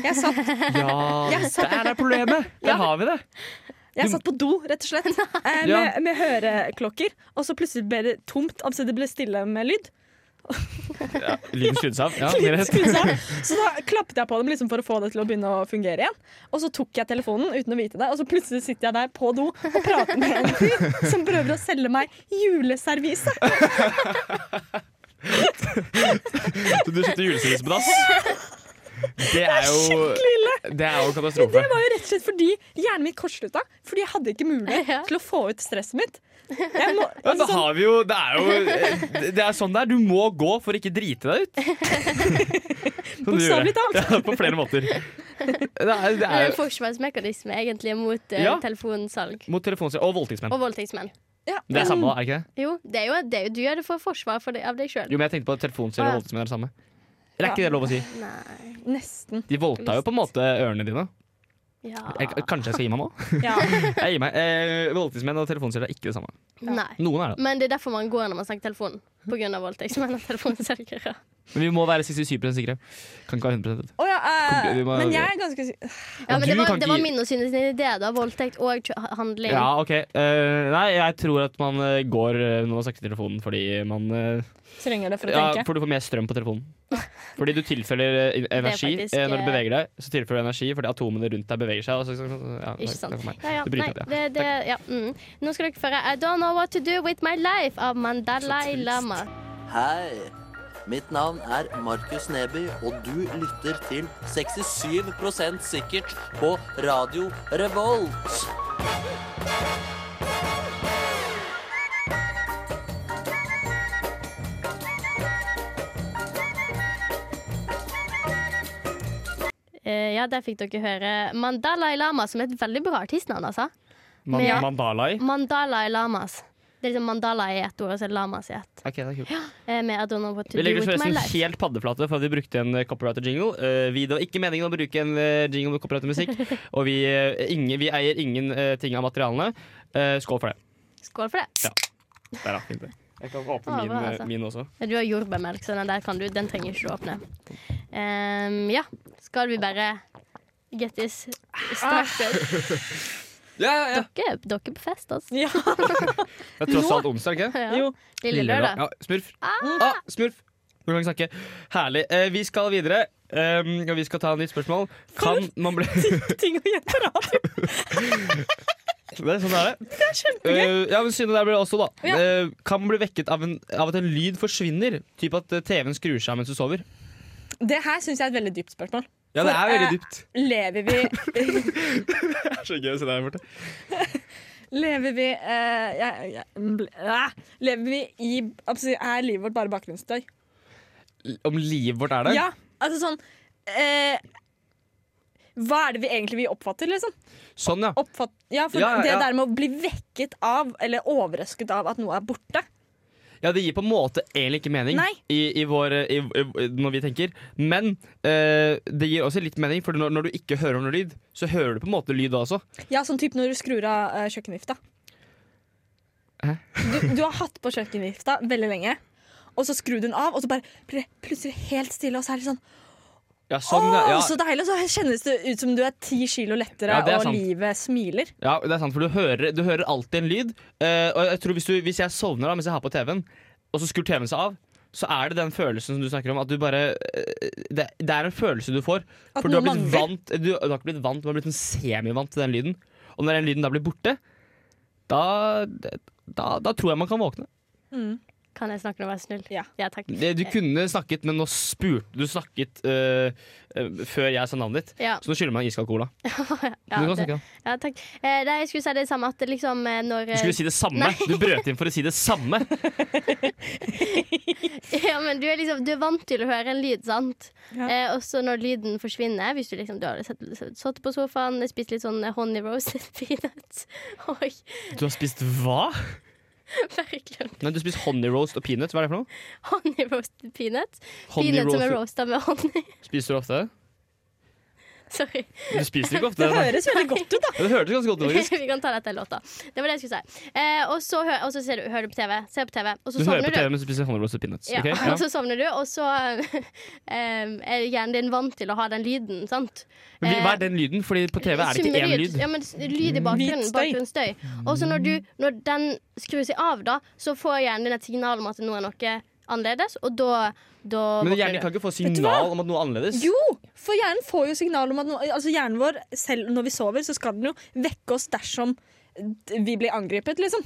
[SPEAKER 4] Jeg satt,
[SPEAKER 2] Ja,
[SPEAKER 4] jeg satt,
[SPEAKER 2] der er problemet! <laughs> Der har vi det.
[SPEAKER 4] jeg satt på do, rett og slett,
[SPEAKER 3] <laughs>
[SPEAKER 4] eh,
[SPEAKER 2] Ja.
[SPEAKER 4] med, med høreklokker. Og så plutselig ble det tomt, altså det ble stille med
[SPEAKER 3] <laughs>
[SPEAKER 4] lyd.
[SPEAKER 2] Ja, Lyden skrudde seg av. Ja, det
[SPEAKER 4] Litt
[SPEAKER 2] er rett.
[SPEAKER 4] skrudd sammen. Så da klappet jeg på dem liksom for å få det til å begynne å fungere igjen. Og så tok jeg telefonen uten å vite det, og så plutselig sitter jeg der på do og prater med en fyr som prøver å selge meg juleservise.
[SPEAKER 2] Så du kjøpte juleservice på dass? Det er jo Det er jo katastrofe.
[SPEAKER 4] Det var jo rett og slett fordi hjernen min kortslutta. Fordi jeg hadde ikke mulighet
[SPEAKER 3] Ja.
[SPEAKER 4] til å få ut stresset mitt. Jeg
[SPEAKER 2] <laughs>
[SPEAKER 4] må,
[SPEAKER 2] Ja, da
[SPEAKER 4] altså, sånn,
[SPEAKER 2] har vi jo Det er jo Det er sånn det er. Du må gå for ikke drite deg ut. Som du gjorde.
[SPEAKER 4] Bokstavelig talt.
[SPEAKER 2] Ja, på flere måter. Det er, det
[SPEAKER 3] Det er
[SPEAKER 2] er
[SPEAKER 3] en forsvarsmekanisme egentlig mot eh,
[SPEAKER 2] Ja.
[SPEAKER 3] telefonsalg.
[SPEAKER 2] mot telefonselgere og voldtektsmenn.
[SPEAKER 3] Og voldtektsmenn.
[SPEAKER 4] ja,
[SPEAKER 2] Det er samme, da, er det ikke det?
[SPEAKER 3] Jo, det er jo, det er jo, du gjør det for forsvar for det, av deg sjøl.
[SPEAKER 2] Jo, men jeg tenkte på at telefonselgere og voldtektsmenn er det samme. Eller er ikke det lov å si?
[SPEAKER 3] Nei
[SPEAKER 4] mm, Nesten.
[SPEAKER 2] De voldta jo på en måte ørene dine.
[SPEAKER 3] ja.
[SPEAKER 2] Jeg, kanskje jeg skal gi meg nå?
[SPEAKER 4] Ja.
[SPEAKER 2] Jeg gir meg. Eh, voldtektsmenn og telefonselgere er ikke det samme.
[SPEAKER 3] Nei.
[SPEAKER 2] Noen er det.
[SPEAKER 3] Men det er derfor man går når man snakker telefon. På grunn av voldtektsmenn og telefonselgere.
[SPEAKER 2] Men vi må være 67 sikre. Kan ikke være 100
[SPEAKER 4] Å ja, eh,
[SPEAKER 2] Kom, vi må-
[SPEAKER 4] men jeg er ganske sy-
[SPEAKER 3] Ja, men
[SPEAKER 2] du
[SPEAKER 3] det var,
[SPEAKER 2] kan
[SPEAKER 3] det
[SPEAKER 2] ikke
[SPEAKER 3] var
[SPEAKER 2] gi-
[SPEAKER 3] min og Synnes idé, da. Voldtekt og kjø- handling.
[SPEAKER 2] Ja, OK. Eh, nei, jeg tror at man eh, går eh, når man snakker i telefonen fordi man eh,
[SPEAKER 4] trenger det for å
[SPEAKER 2] Ja,
[SPEAKER 4] tenke.
[SPEAKER 2] for du får mer strøm på
[SPEAKER 3] <laughs>
[SPEAKER 2] telefonen. Fordi du tilfører eh, in- energi
[SPEAKER 3] faktisk,
[SPEAKER 2] eh, når du
[SPEAKER 3] eh,
[SPEAKER 2] beveger deg. Så tilfører du energi fordi atomene rundt deg beveger seg. Og så, så, så, ja,
[SPEAKER 3] Ikke sant.
[SPEAKER 2] takk for meg.
[SPEAKER 3] Ja, ja.
[SPEAKER 2] Det
[SPEAKER 3] Nei,
[SPEAKER 2] bryter jeg,
[SPEAKER 3] det, det, ja. Mm. Nå skal dere få høre I Don't Know What To Do With My Life av Mandalai Lama.
[SPEAKER 7] Hei! Mitt navn er Markus Neby, og du lytter til 67 sikkert på Radio Revolt.
[SPEAKER 3] Eh, ja, der fikk dere høre Mandalai Lama, som er et veldig bra artistnavn, altså.
[SPEAKER 2] Man,
[SPEAKER 3] Ja.
[SPEAKER 2] Mandalai.
[SPEAKER 3] Mandalai Lamas. Det er liksom Mandala i ett ord, og så er Lamas i ett.
[SPEAKER 2] Ok, det er kult.
[SPEAKER 3] Eh, med I Don't Know What To
[SPEAKER 2] Vi
[SPEAKER 3] Do
[SPEAKER 2] legger oss
[SPEAKER 3] With My
[SPEAKER 2] forresten
[SPEAKER 3] Life.
[SPEAKER 2] helt paddeflate for at vi brukte en eh, copyrighted jingle. Eh, vi det var ikke meningen å bruke en eh, jingle med copyrighted musikk, <laughs> og vi, eh, ingen, vi eier ingen eh, ting av materialene. Eh, skål for det.
[SPEAKER 3] Skål for det.
[SPEAKER 2] Der, da. Fint, det. Jeg kan åpne
[SPEAKER 3] Ja,
[SPEAKER 2] min,
[SPEAKER 3] bra,
[SPEAKER 2] eh,
[SPEAKER 3] altså.
[SPEAKER 2] min også.
[SPEAKER 3] Du har jordbærmelk, så den der kan du. Den trenger ikke du åpne. Ehm, ja, skal vi bare get this started?
[SPEAKER 2] Ah.
[SPEAKER 3] Dere, dere er på fest, altså.
[SPEAKER 4] Ja,
[SPEAKER 2] Det er tross alt onsdag, ikke
[SPEAKER 3] Ja.
[SPEAKER 4] jo.
[SPEAKER 3] Lille lørdag.
[SPEAKER 2] Ja, smurf. Ah, smurf. Nå kan vi snakke. Herlig. Eh, vi skal videre. Um, og vi skal ta et nytt spørsmål. Kan man bli
[SPEAKER 4] Ting å gjøre.
[SPEAKER 2] Det er sånn det er det. Eh, ja, men synet der ble det også, da. Eh, kan bli vekket av, en, av at en lyd forsvinner. Typ at eh, TV-en skrur seg av mens du sover.
[SPEAKER 4] Det her syns jeg er et veldig dypt spørsmål.
[SPEAKER 2] Ja, det er veldig
[SPEAKER 4] Eh,
[SPEAKER 2] dypt.
[SPEAKER 4] Lever vi <laughs>
[SPEAKER 2] Det er så gøy å se deg her borte.
[SPEAKER 4] Lever vi eh, jeg, jeg, bl- æ, Lever vi i absolutt, Er livet vårt bare bakgrunnsstøy?
[SPEAKER 2] Om livet vårt er der?
[SPEAKER 4] Ja, altså sånn eh, Hva er det vi egentlig vi oppfatter, liksom?
[SPEAKER 2] Sånn, ja.
[SPEAKER 4] Oppfatt, ja, for
[SPEAKER 2] Ja, ja,
[SPEAKER 4] det
[SPEAKER 2] ja.
[SPEAKER 4] der med å bli vekket av, eller overrasket av, at noe er borte.
[SPEAKER 2] Ja, Det gir på en måte egentlig ikke mening
[SPEAKER 4] Nei.
[SPEAKER 2] i, i vår, eh, i, i, når vi tenker. Men eh, det gir også litt mening, for når, når du ikke hører noe lyd, så hører du på en måte lyd da også.
[SPEAKER 4] Ja, sånn type når du skrur av eh, kjøkkenvifta.
[SPEAKER 2] Hæ?
[SPEAKER 4] Du, du har hatt på kjøkkenvifta veldig lenge, og så skrur du den av, og så bare blir det plutselig helt stille, og så er det sånn
[SPEAKER 2] Ja, sånn, ja.
[SPEAKER 4] Åh,
[SPEAKER 2] ja.
[SPEAKER 4] så deilig! Og så kjennes det ut som du er ti kilo lettere,
[SPEAKER 2] Ja, det er
[SPEAKER 4] og
[SPEAKER 2] sant.
[SPEAKER 4] livet smiler.
[SPEAKER 2] Ja, det er sant, for du hører, du hører alltid en lyd. eh, og jeg tror hvis, du, hvis jeg sovner da, mens jeg har på TV-en, og så skrur TV-en seg av, så er det den følelsen som du snakker om. At du bare, eh, det, det er en følelse du får.
[SPEAKER 4] At
[SPEAKER 2] For du har,
[SPEAKER 4] noe
[SPEAKER 2] blitt
[SPEAKER 4] mangler.
[SPEAKER 2] vant, du, du har ikke blitt vant, du har blitt sånn semivant til den lyden. Og når den lyden da blir borte, da, da, da tror jeg man kan våkne.
[SPEAKER 4] Mm.
[SPEAKER 3] Kan jeg snakke nå, vær så snill?
[SPEAKER 4] Ja.
[SPEAKER 3] takk.
[SPEAKER 2] Det- Du kunne snakket, men nå spurte du snakket eh, eh, før jeg sa navnet ditt.
[SPEAKER 3] Ja,
[SPEAKER 2] Så nå skylder jeg meg en iskald cola.
[SPEAKER 3] ja,
[SPEAKER 2] du kan
[SPEAKER 3] det,
[SPEAKER 2] snakke, da.
[SPEAKER 3] ja, takk. Eh, nei, jeg skulle si det samme at liksom eh, når
[SPEAKER 2] Du
[SPEAKER 3] eh,
[SPEAKER 2] skulle si det samme.
[SPEAKER 3] Nei.
[SPEAKER 2] Du brøt inn for å si det samme.
[SPEAKER 3] <laughs> Ja, men du er liksom Du er vant til å høre en lyd, sant?
[SPEAKER 4] Ja.
[SPEAKER 3] Eh, og så når lyden forsvinner, hvis du liksom Du har sett- satt på sofaen, spist litt sånn eh, honey roasted <laughs> peanuts og
[SPEAKER 2] Du har spist hva?
[SPEAKER 3] bare glemt
[SPEAKER 2] Nei, du spiser honey roast og peanut. Hva er det for noe?
[SPEAKER 3] honey roasted peanuts.
[SPEAKER 2] Honey
[SPEAKER 3] peanuts som
[SPEAKER 2] roast-
[SPEAKER 3] er roasta med honning.
[SPEAKER 2] Spiser du ofte det?
[SPEAKER 3] <laughs> Sorry.
[SPEAKER 2] Du spiser ikke ofte
[SPEAKER 4] Det
[SPEAKER 2] det. nei.
[SPEAKER 4] høres veldig godt ut, da.
[SPEAKER 2] Ja, Det hørtes ganske godt ut, faktisk.
[SPEAKER 3] Vi kan ta dette i låta. Det var det jeg skulle si. Eh, og så hø og så ser du, hører du på TV, ser på TV, og <laughs> så
[SPEAKER 2] Du hører
[SPEAKER 3] sovner
[SPEAKER 2] på
[SPEAKER 3] du.
[SPEAKER 2] TV mens du spiser honey roast og peanuts.
[SPEAKER 3] Ja,
[SPEAKER 2] ok?
[SPEAKER 3] <laughs> Altså,
[SPEAKER 2] Ja.
[SPEAKER 3] Og så sovner du, og så <laughs> eh, er hjernen din vant til å ha den lyden, sant?
[SPEAKER 2] Men vi- Hva er den lyden? Fordi på TV er det ikke én
[SPEAKER 3] Summeryd.
[SPEAKER 2] lyd.
[SPEAKER 3] Ja, men s- lyd i
[SPEAKER 4] Hvit
[SPEAKER 3] bakgrunnen.
[SPEAKER 4] støy.
[SPEAKER 3] Bakgrunnsstøy. Og så når, du- når den skrur seg av, da, så får hjernen din et signal om at nå er noe annerledes, og da, da
[SPEAKER 2] Men
[SPEAKER 3] våkner
[SPEAKER 2] hjernen
[SPEAKER 3] du.
[SPEAKER 2] kan ikke få
[SPEAKER 4] Vet du hva?
[SPEAKER 2] signal om at noe er annerledes.
[SPEAKER 4] <laughs> Jo, for hjernen får jo signal om at no, altså hjernen vår, selv når vi sover, så skal den jo vekke oss dersom d- vi blir angrepet, liksom.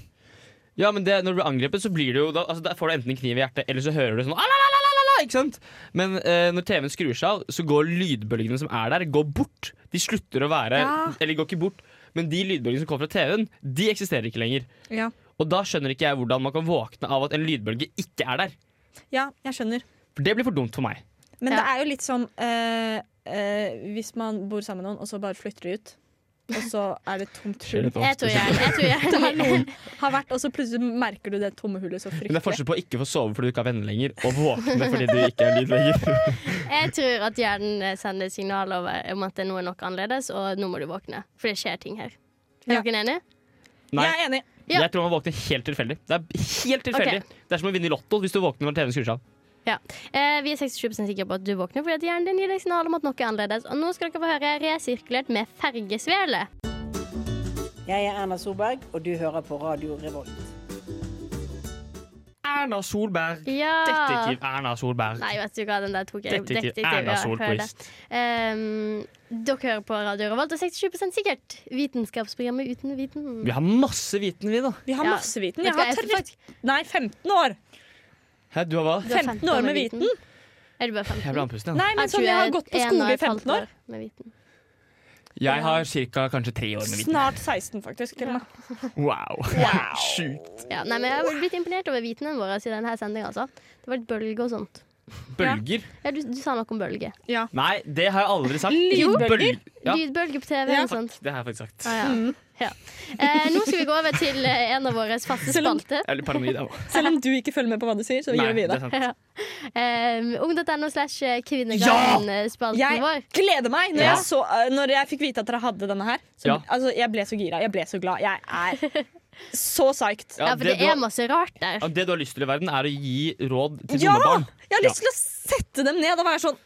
[SPEAKER 2] Ja, men det, når du blir angrepet, så blir det jo da, altså, der får du enten en kniv i hjertet, eller så hører du sånn «Alalalala», ikke sant? Men eh, når TV-en skrur seg av, så går lydbølgene som er der, går bort. De slutter å være
[SPEAKER 4] Ja.
[SPEAKER 2] Eller går ikke bort, men de lydbølgene som kommer fra TV-en, de eksisterer ikke lenger.
[SPEAKER 4] Ja.
[SPEAKER 2] Og da skjønner ikke jeg hvordan man kan våkne av at en lydbølge ikke er der.
[SPEAKER 4] Ja, jeg skjønner.
[SPEAKER 2] For det blir for dumt for meg.
[SPEAKER 4] Men
[SPEAKER 3] Ja.
[SPEAKER 4] det er jo litt som eh, eh, hvis man bor sammen med noen, og så bare flytter de ut. Og så er det et tomt hull.
[SPEAKER 3] Jeg tror hjernen,
[SPEAKER 2] <laughs>
[SPEAKER 3] jeg tror hjernen
[SPEAKER 4] Der noen har vært, og så plutselig merker du det tomme hullet så
[SPEAKER 2] Men det er
[SPEAKER 4] fryktelig.
[SPEAKER 2] forskjell på å ikke få sove fordi du ikke har venner lenger, og våkne fordi du ikke er lyd
[SPEAKER 3] <laughs>
[SPEAKER 2] lenger.
[SPEAKER 3] Jeg tror at hjernen eh, sender signal over om at nå er noe annerledes, og nå må du våkne. For det skjer ting her. Er
[SPEAKER 4] Ja.
[SPEAKER 3] dere enig?
[SPEAKER 2] Nei,
[SPEAKER 4] Jeg er enig.
[SPEAKER 3] Ja.
[SPEAKER 2] jeg tror man våkner helt tilfeldig. Det er helt tilfeldig. Det er som å vinne i Lotto hvis du våkner når TV-en skrur seg av.
[SPEAKER 3] Eh, vi er 67 sikre på at du våkner fordi at hjernen din gir deg signal om at noe er annerledes. Og nå skal dere få høre Resirkulert med fergesvele.
[SPEAKER 8] Jeg er Erna Solberg, og du hører på Radio Revolt.
[SPEAKER 2] Erna Solberg.
[SPEAKER 3] Ja.
[SPEAKER 2] Detektiv Erna Solberg.
[SPEAKER 3] Nei, vet du hva, den der tok jeg.
[SPEAKER 2] Detektiv
[SPEAKER 3] Detektiv,
[SPEAKER 2] Erna
[SPEAKER 3] ja, hør det.
[SPEAKER 2] Solquist.
[SPEAKER 3] Ehm, dere hører på Radio Revolt, og 67 sikkert. Vitenskapsprogrammet uten viten.
[SPEAKER 2] Vi har masse viten, vi, da.
[SPEAKER 4] Vi har
[SPEAKER 3] Ja.
[SPEAKER 4] masse viten.
[SPEAKER 3] Vet
[SPEAKER 4] Jeg
[SPEAKER 3] du hva,
[SPEAKER 4] har
[SPEAKER 3] tror
[SPEAKER 4] trett...
[SPEAKER 3] faktisk-
[SPEAKER 4] Nei, 15 år!
[SPEAKER 2] Hæ, du har hva?
[SPEAKER 3] du har
[SPEAKER 4] 15 år med viten.
[SPEAKER 3] Er du bare 15?
[SPEAKER 2] Jeg ble andpusten igjen.
[SPEAKER 4] Nei, men sånn, jeg har gått på skole i 15 år.
[SPEAKER 3] Med viten.
[SPEAKER 2] Jeg har ca. kanskje tre år med viten.
[SPEAKER 4] Snart 16, faktisk. Til og med.
[SPEAKER 2] Wow. <laughs> Sjukt.
[SPEAKER 3] Ja, nei, men jeg har blitt imponert over vitenen vår i denne sendinga. Altså. Det var et bølge og sånt.
[SPEAKER 2] Bølger?
[SPEAKER 3] Ja, du, du sa noe om bølge.
[SPEAKER 2] Nei, det har jeg aldri sagt.
[SPEAKER 4] Lydbølger?
[SPEAKER 2] Bøl- Ja,
[SPEAKER 3] Lydbølge på TV
[SPEAKER 4] Ja. Mm.
[SPEAKER 3] og sånt.
[SPEAKER 2] det har jeg faktisk sagt.
[SPEAKER 3] Ah, ja. Ja. Eh, nå skal vi gå over til eh, en av våre faste
[SPEAKER 4] Selv om-
[SPEAKER 3] spalter.
[SPEAKER 2] Jeg er litt paranoid, jeg òg.
[SPEAKER 4] <laughs> Selv om du ikke følger med på hva du sier, så <laughs> gjør vi det.
[SPEAKER 3] Um, Ung.no slash eh, kvinnegarden-spalten
[SPEAKER 4] Jeg
[SPEAKER 3] vår.
[SPEAKER 4] gleder meg! Når,
[SPEAKER 2] Ja.
[SPEAKER 4] jeg, så, eh, når jeg fikk vite at dere hadde denne her, så,
[SPEAKER 2] Ja.
[SPEAKER 4] altså, jeg ble så gira. Jeg ble så glad. Jeg er så
[SPEAKER 3] <laughs>
[SPEAKER 4] psyched.
[SPEAKER 3] Ja, for det, er masse rart der.
[SPEAKER 2] Ja, Det du har lyst til i verden, er å gi råd til
[SPEAKER 4] Ja!
[SPEAKER 2] bombebarn.
[SPEAKER 4] Jeg har lyst til å sette dem ned og være sånn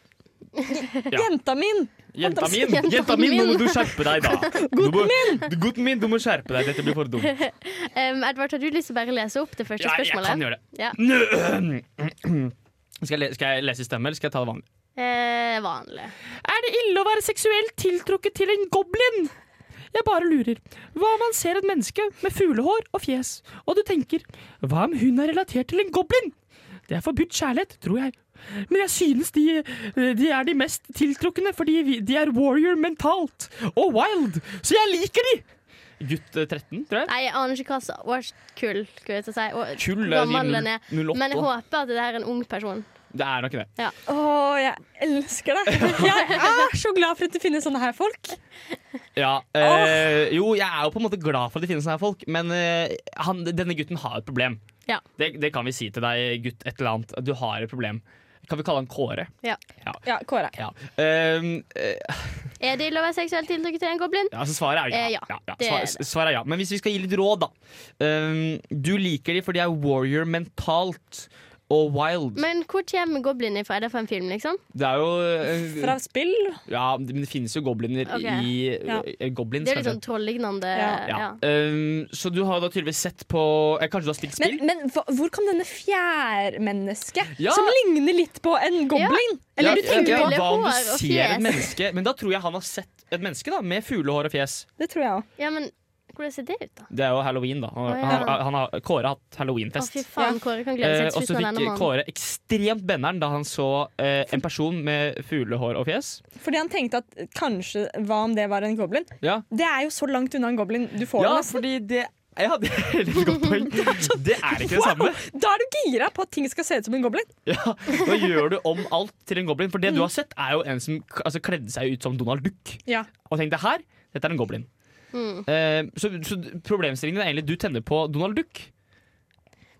[SPEAKER 4] Jenta min!
[SPEAKER 2] Jenta min,
[SPEAKER 4] <laughs>
[SPEAKER 3] Jenta
[SPEAKER 2] jenta min, nå må
[SPEAKER 3] min.
[SPEAKER 2] du skjerpe deg, da. Gutten min! Gutten min, du må skjerpe deg. Dette blir for dumt.
[SPEAKER 3] Um, Edvard, har du lyst til å bare lese opp det første
[SPEAKER 2] Ja, jeg
[SPEAKER 3] spørsmålet?
[SPEAKER 2] kan gjøre det.
[SPEAKER 3] Ja.
[SPEAKER 2] Skal jeg, le- skal jeg lese i stemme, eller skal jeg ta det vanlig?
[SPEAKER 3] Eh, vanlig.
[SPEAKER 2] Er det ille å være seksuelt tiltrukket til en goblin? Jeg bare lurer. Hva om man ser et menneske med fuglehår og fjes, og du tenker hva om hun er relatert til en goblin? Det er forbudt kjærlighet, tror jeg. Men jeg synes de, de er de mest tiltrukne, fordi vi- de er warrior mentalt og wild, så jeg liker de! Gutt 13, tror jeg.
[SPEAKER 3] Nei, jeg aner ikke hva årskull skulle jeg til å si. Og,
[SPEAKER 2] Kull
[SPEAKER 3] hvor
[SPEAKER 2] er de
[SPEAKER 3] gammel den er.
[SPEAKER 2] 08.
[SPEAKER 3] Men jeg håper at det er en ung person.
[SPEAKER 2] Det er nok det.
[SPEAKER 4] Å, jeg elsker det! Jeg er så glad for at det finnes sånne her folk.
[SPEAKER 2] Ja, eh, jo, jeg er jo på en måte glad for at det finnes sånne her folk, men eh, han, denne gutten har et problem.
[SPEAKER 3] Ja.
[SPEAKER 2] Det, det kan vi si til deg, gutt et eller annet. at Du har et problem. Kan vi kalle han Kåre?
[SPEAKER 4] Ja, Kåre.
[SPEAKER 2] Ja. Ehm, eh,
[SPEAKER 3] Er det ille å være seksuelt tiltrukket til en goblin?
[SPEAKER 2] ja, så svaret er ja.
[SPEAKER 3] Eh, ja, det
[SPEAKER 2] Svar,
[SPEAKER 3] er det.
[SPEAKER 2] svaret er ja. Men hvis vi skal gi litt råd, da. Ehm, du liker de fordi de er warrior mentalt og wild.
[SPEAKER 3] Men hvor kommer goblin ifra? Er det fra en film, liksom?
[SPEAKER 2] det er jo eh,
[SPEAKER 4] Fra spill.
[SPEAKER 2] Ja, men det finnes jo gobliner
[SPEAKER 3] Ok.
[SPEAKER 2] i
[SPEAKER 4] Ja.
[SPEAKER 2] eh, Goblins,
[SPEAKER 3] Det er litt
[SPEAKER 2] kanskje.
[SPEAKER 3] sånn trolllignende
[SPEAKER 4] Ja.
[SPEAKER 3] ja.
[SPEAKER 2] Ja. Ehm, så du har da tydeligvis sett på eh, Kanskje du har spilt
[SPEAKER 4] Men,
[SPEAKER 2] spill?
[SPEAKER 4] men hva- hvor kom denne fjærmennesket,
[SPEAKER 2] Ja.
[SPEAKER 4] som ligner litt på en goblin? Eller
[SPEAKER 3] Ja,
[SPEAKER 4] du tenker
[SPEAKER 3] ja,
[SPEAKER 4] på
[SPEAKER 3] ja.
[SPEAKER 2] hva om
[SPEAKER 3] hår
[SPEAKER 2] du
[SPEAKER 3] og
[SPEAKER 2] ser
[SPEAKER 3] fjes.
[SPEAKER 2] et menneske Men da tror jeg han har sett et menneske da med fuglehår og fjes.
[SPEAKER 4] Det tror jeg òg.
[SPEAKER 3] ja, men hvordan ser det ut, da?
[SPEAKER 2] Det er jo halloween, da. Han,
[SPEAKER 3] Å, ja.
[SPEAKER 2] han, har- han har, Kåre har hatt
[SPEAKER 3] Å,
[SPEAKER 2] halloweenfest.
[SPEAKER 3] fy faen, Kåre kan glede
[SPEAKER 2] Eh,
[SPEAKER 3] seg
[SPEAKER 2] og
[SPEAKER 3] til
[SPEAKER 2] så
[SPEAKER 3] slutten av denne
[SPEAKER 2] fikk
[SPEAKER 3] måneden.
[SPEAKER 2] Kåre ekstremt benneren da han så eh, en person med fuglehår og fjes.
[SPEAKER 4] Fordi han tenkte at kanskje hva om det var en goblin?
[SPEAKER 2] Ja,
[SPEAKER 4] Det er jo så langt unna en goblin du får
[SPEAKER 2] ja
[SPEAKER 4] det nesten.
[SPEAKER 2] fordi det ja, det er <laughs> et veldig godt
[SPEAKER 3] <laughs>
[SPEAKER 2] poeng. Det er ikke det samme.
[SPEAKER 4] Da er du gira på at ting skal se ut som en goblin.
[SPEAKER 2] Ja, Nå gjør du om alt til en goblin. For det du
[SPEAKER 3] Mm.
[SPEAKER 2] har sett, er jo en som k- altså, kledde seg ut som Donald Duck.
[SPEAKER 4] Ja.
[SPEAKER 2] Og tenkte her, dette er en goblin.
[SPEAKER 3] Mm.
[SPEAKER 2] Eh, så, så problemstillingen er egentlig du tenner på Donald Duck.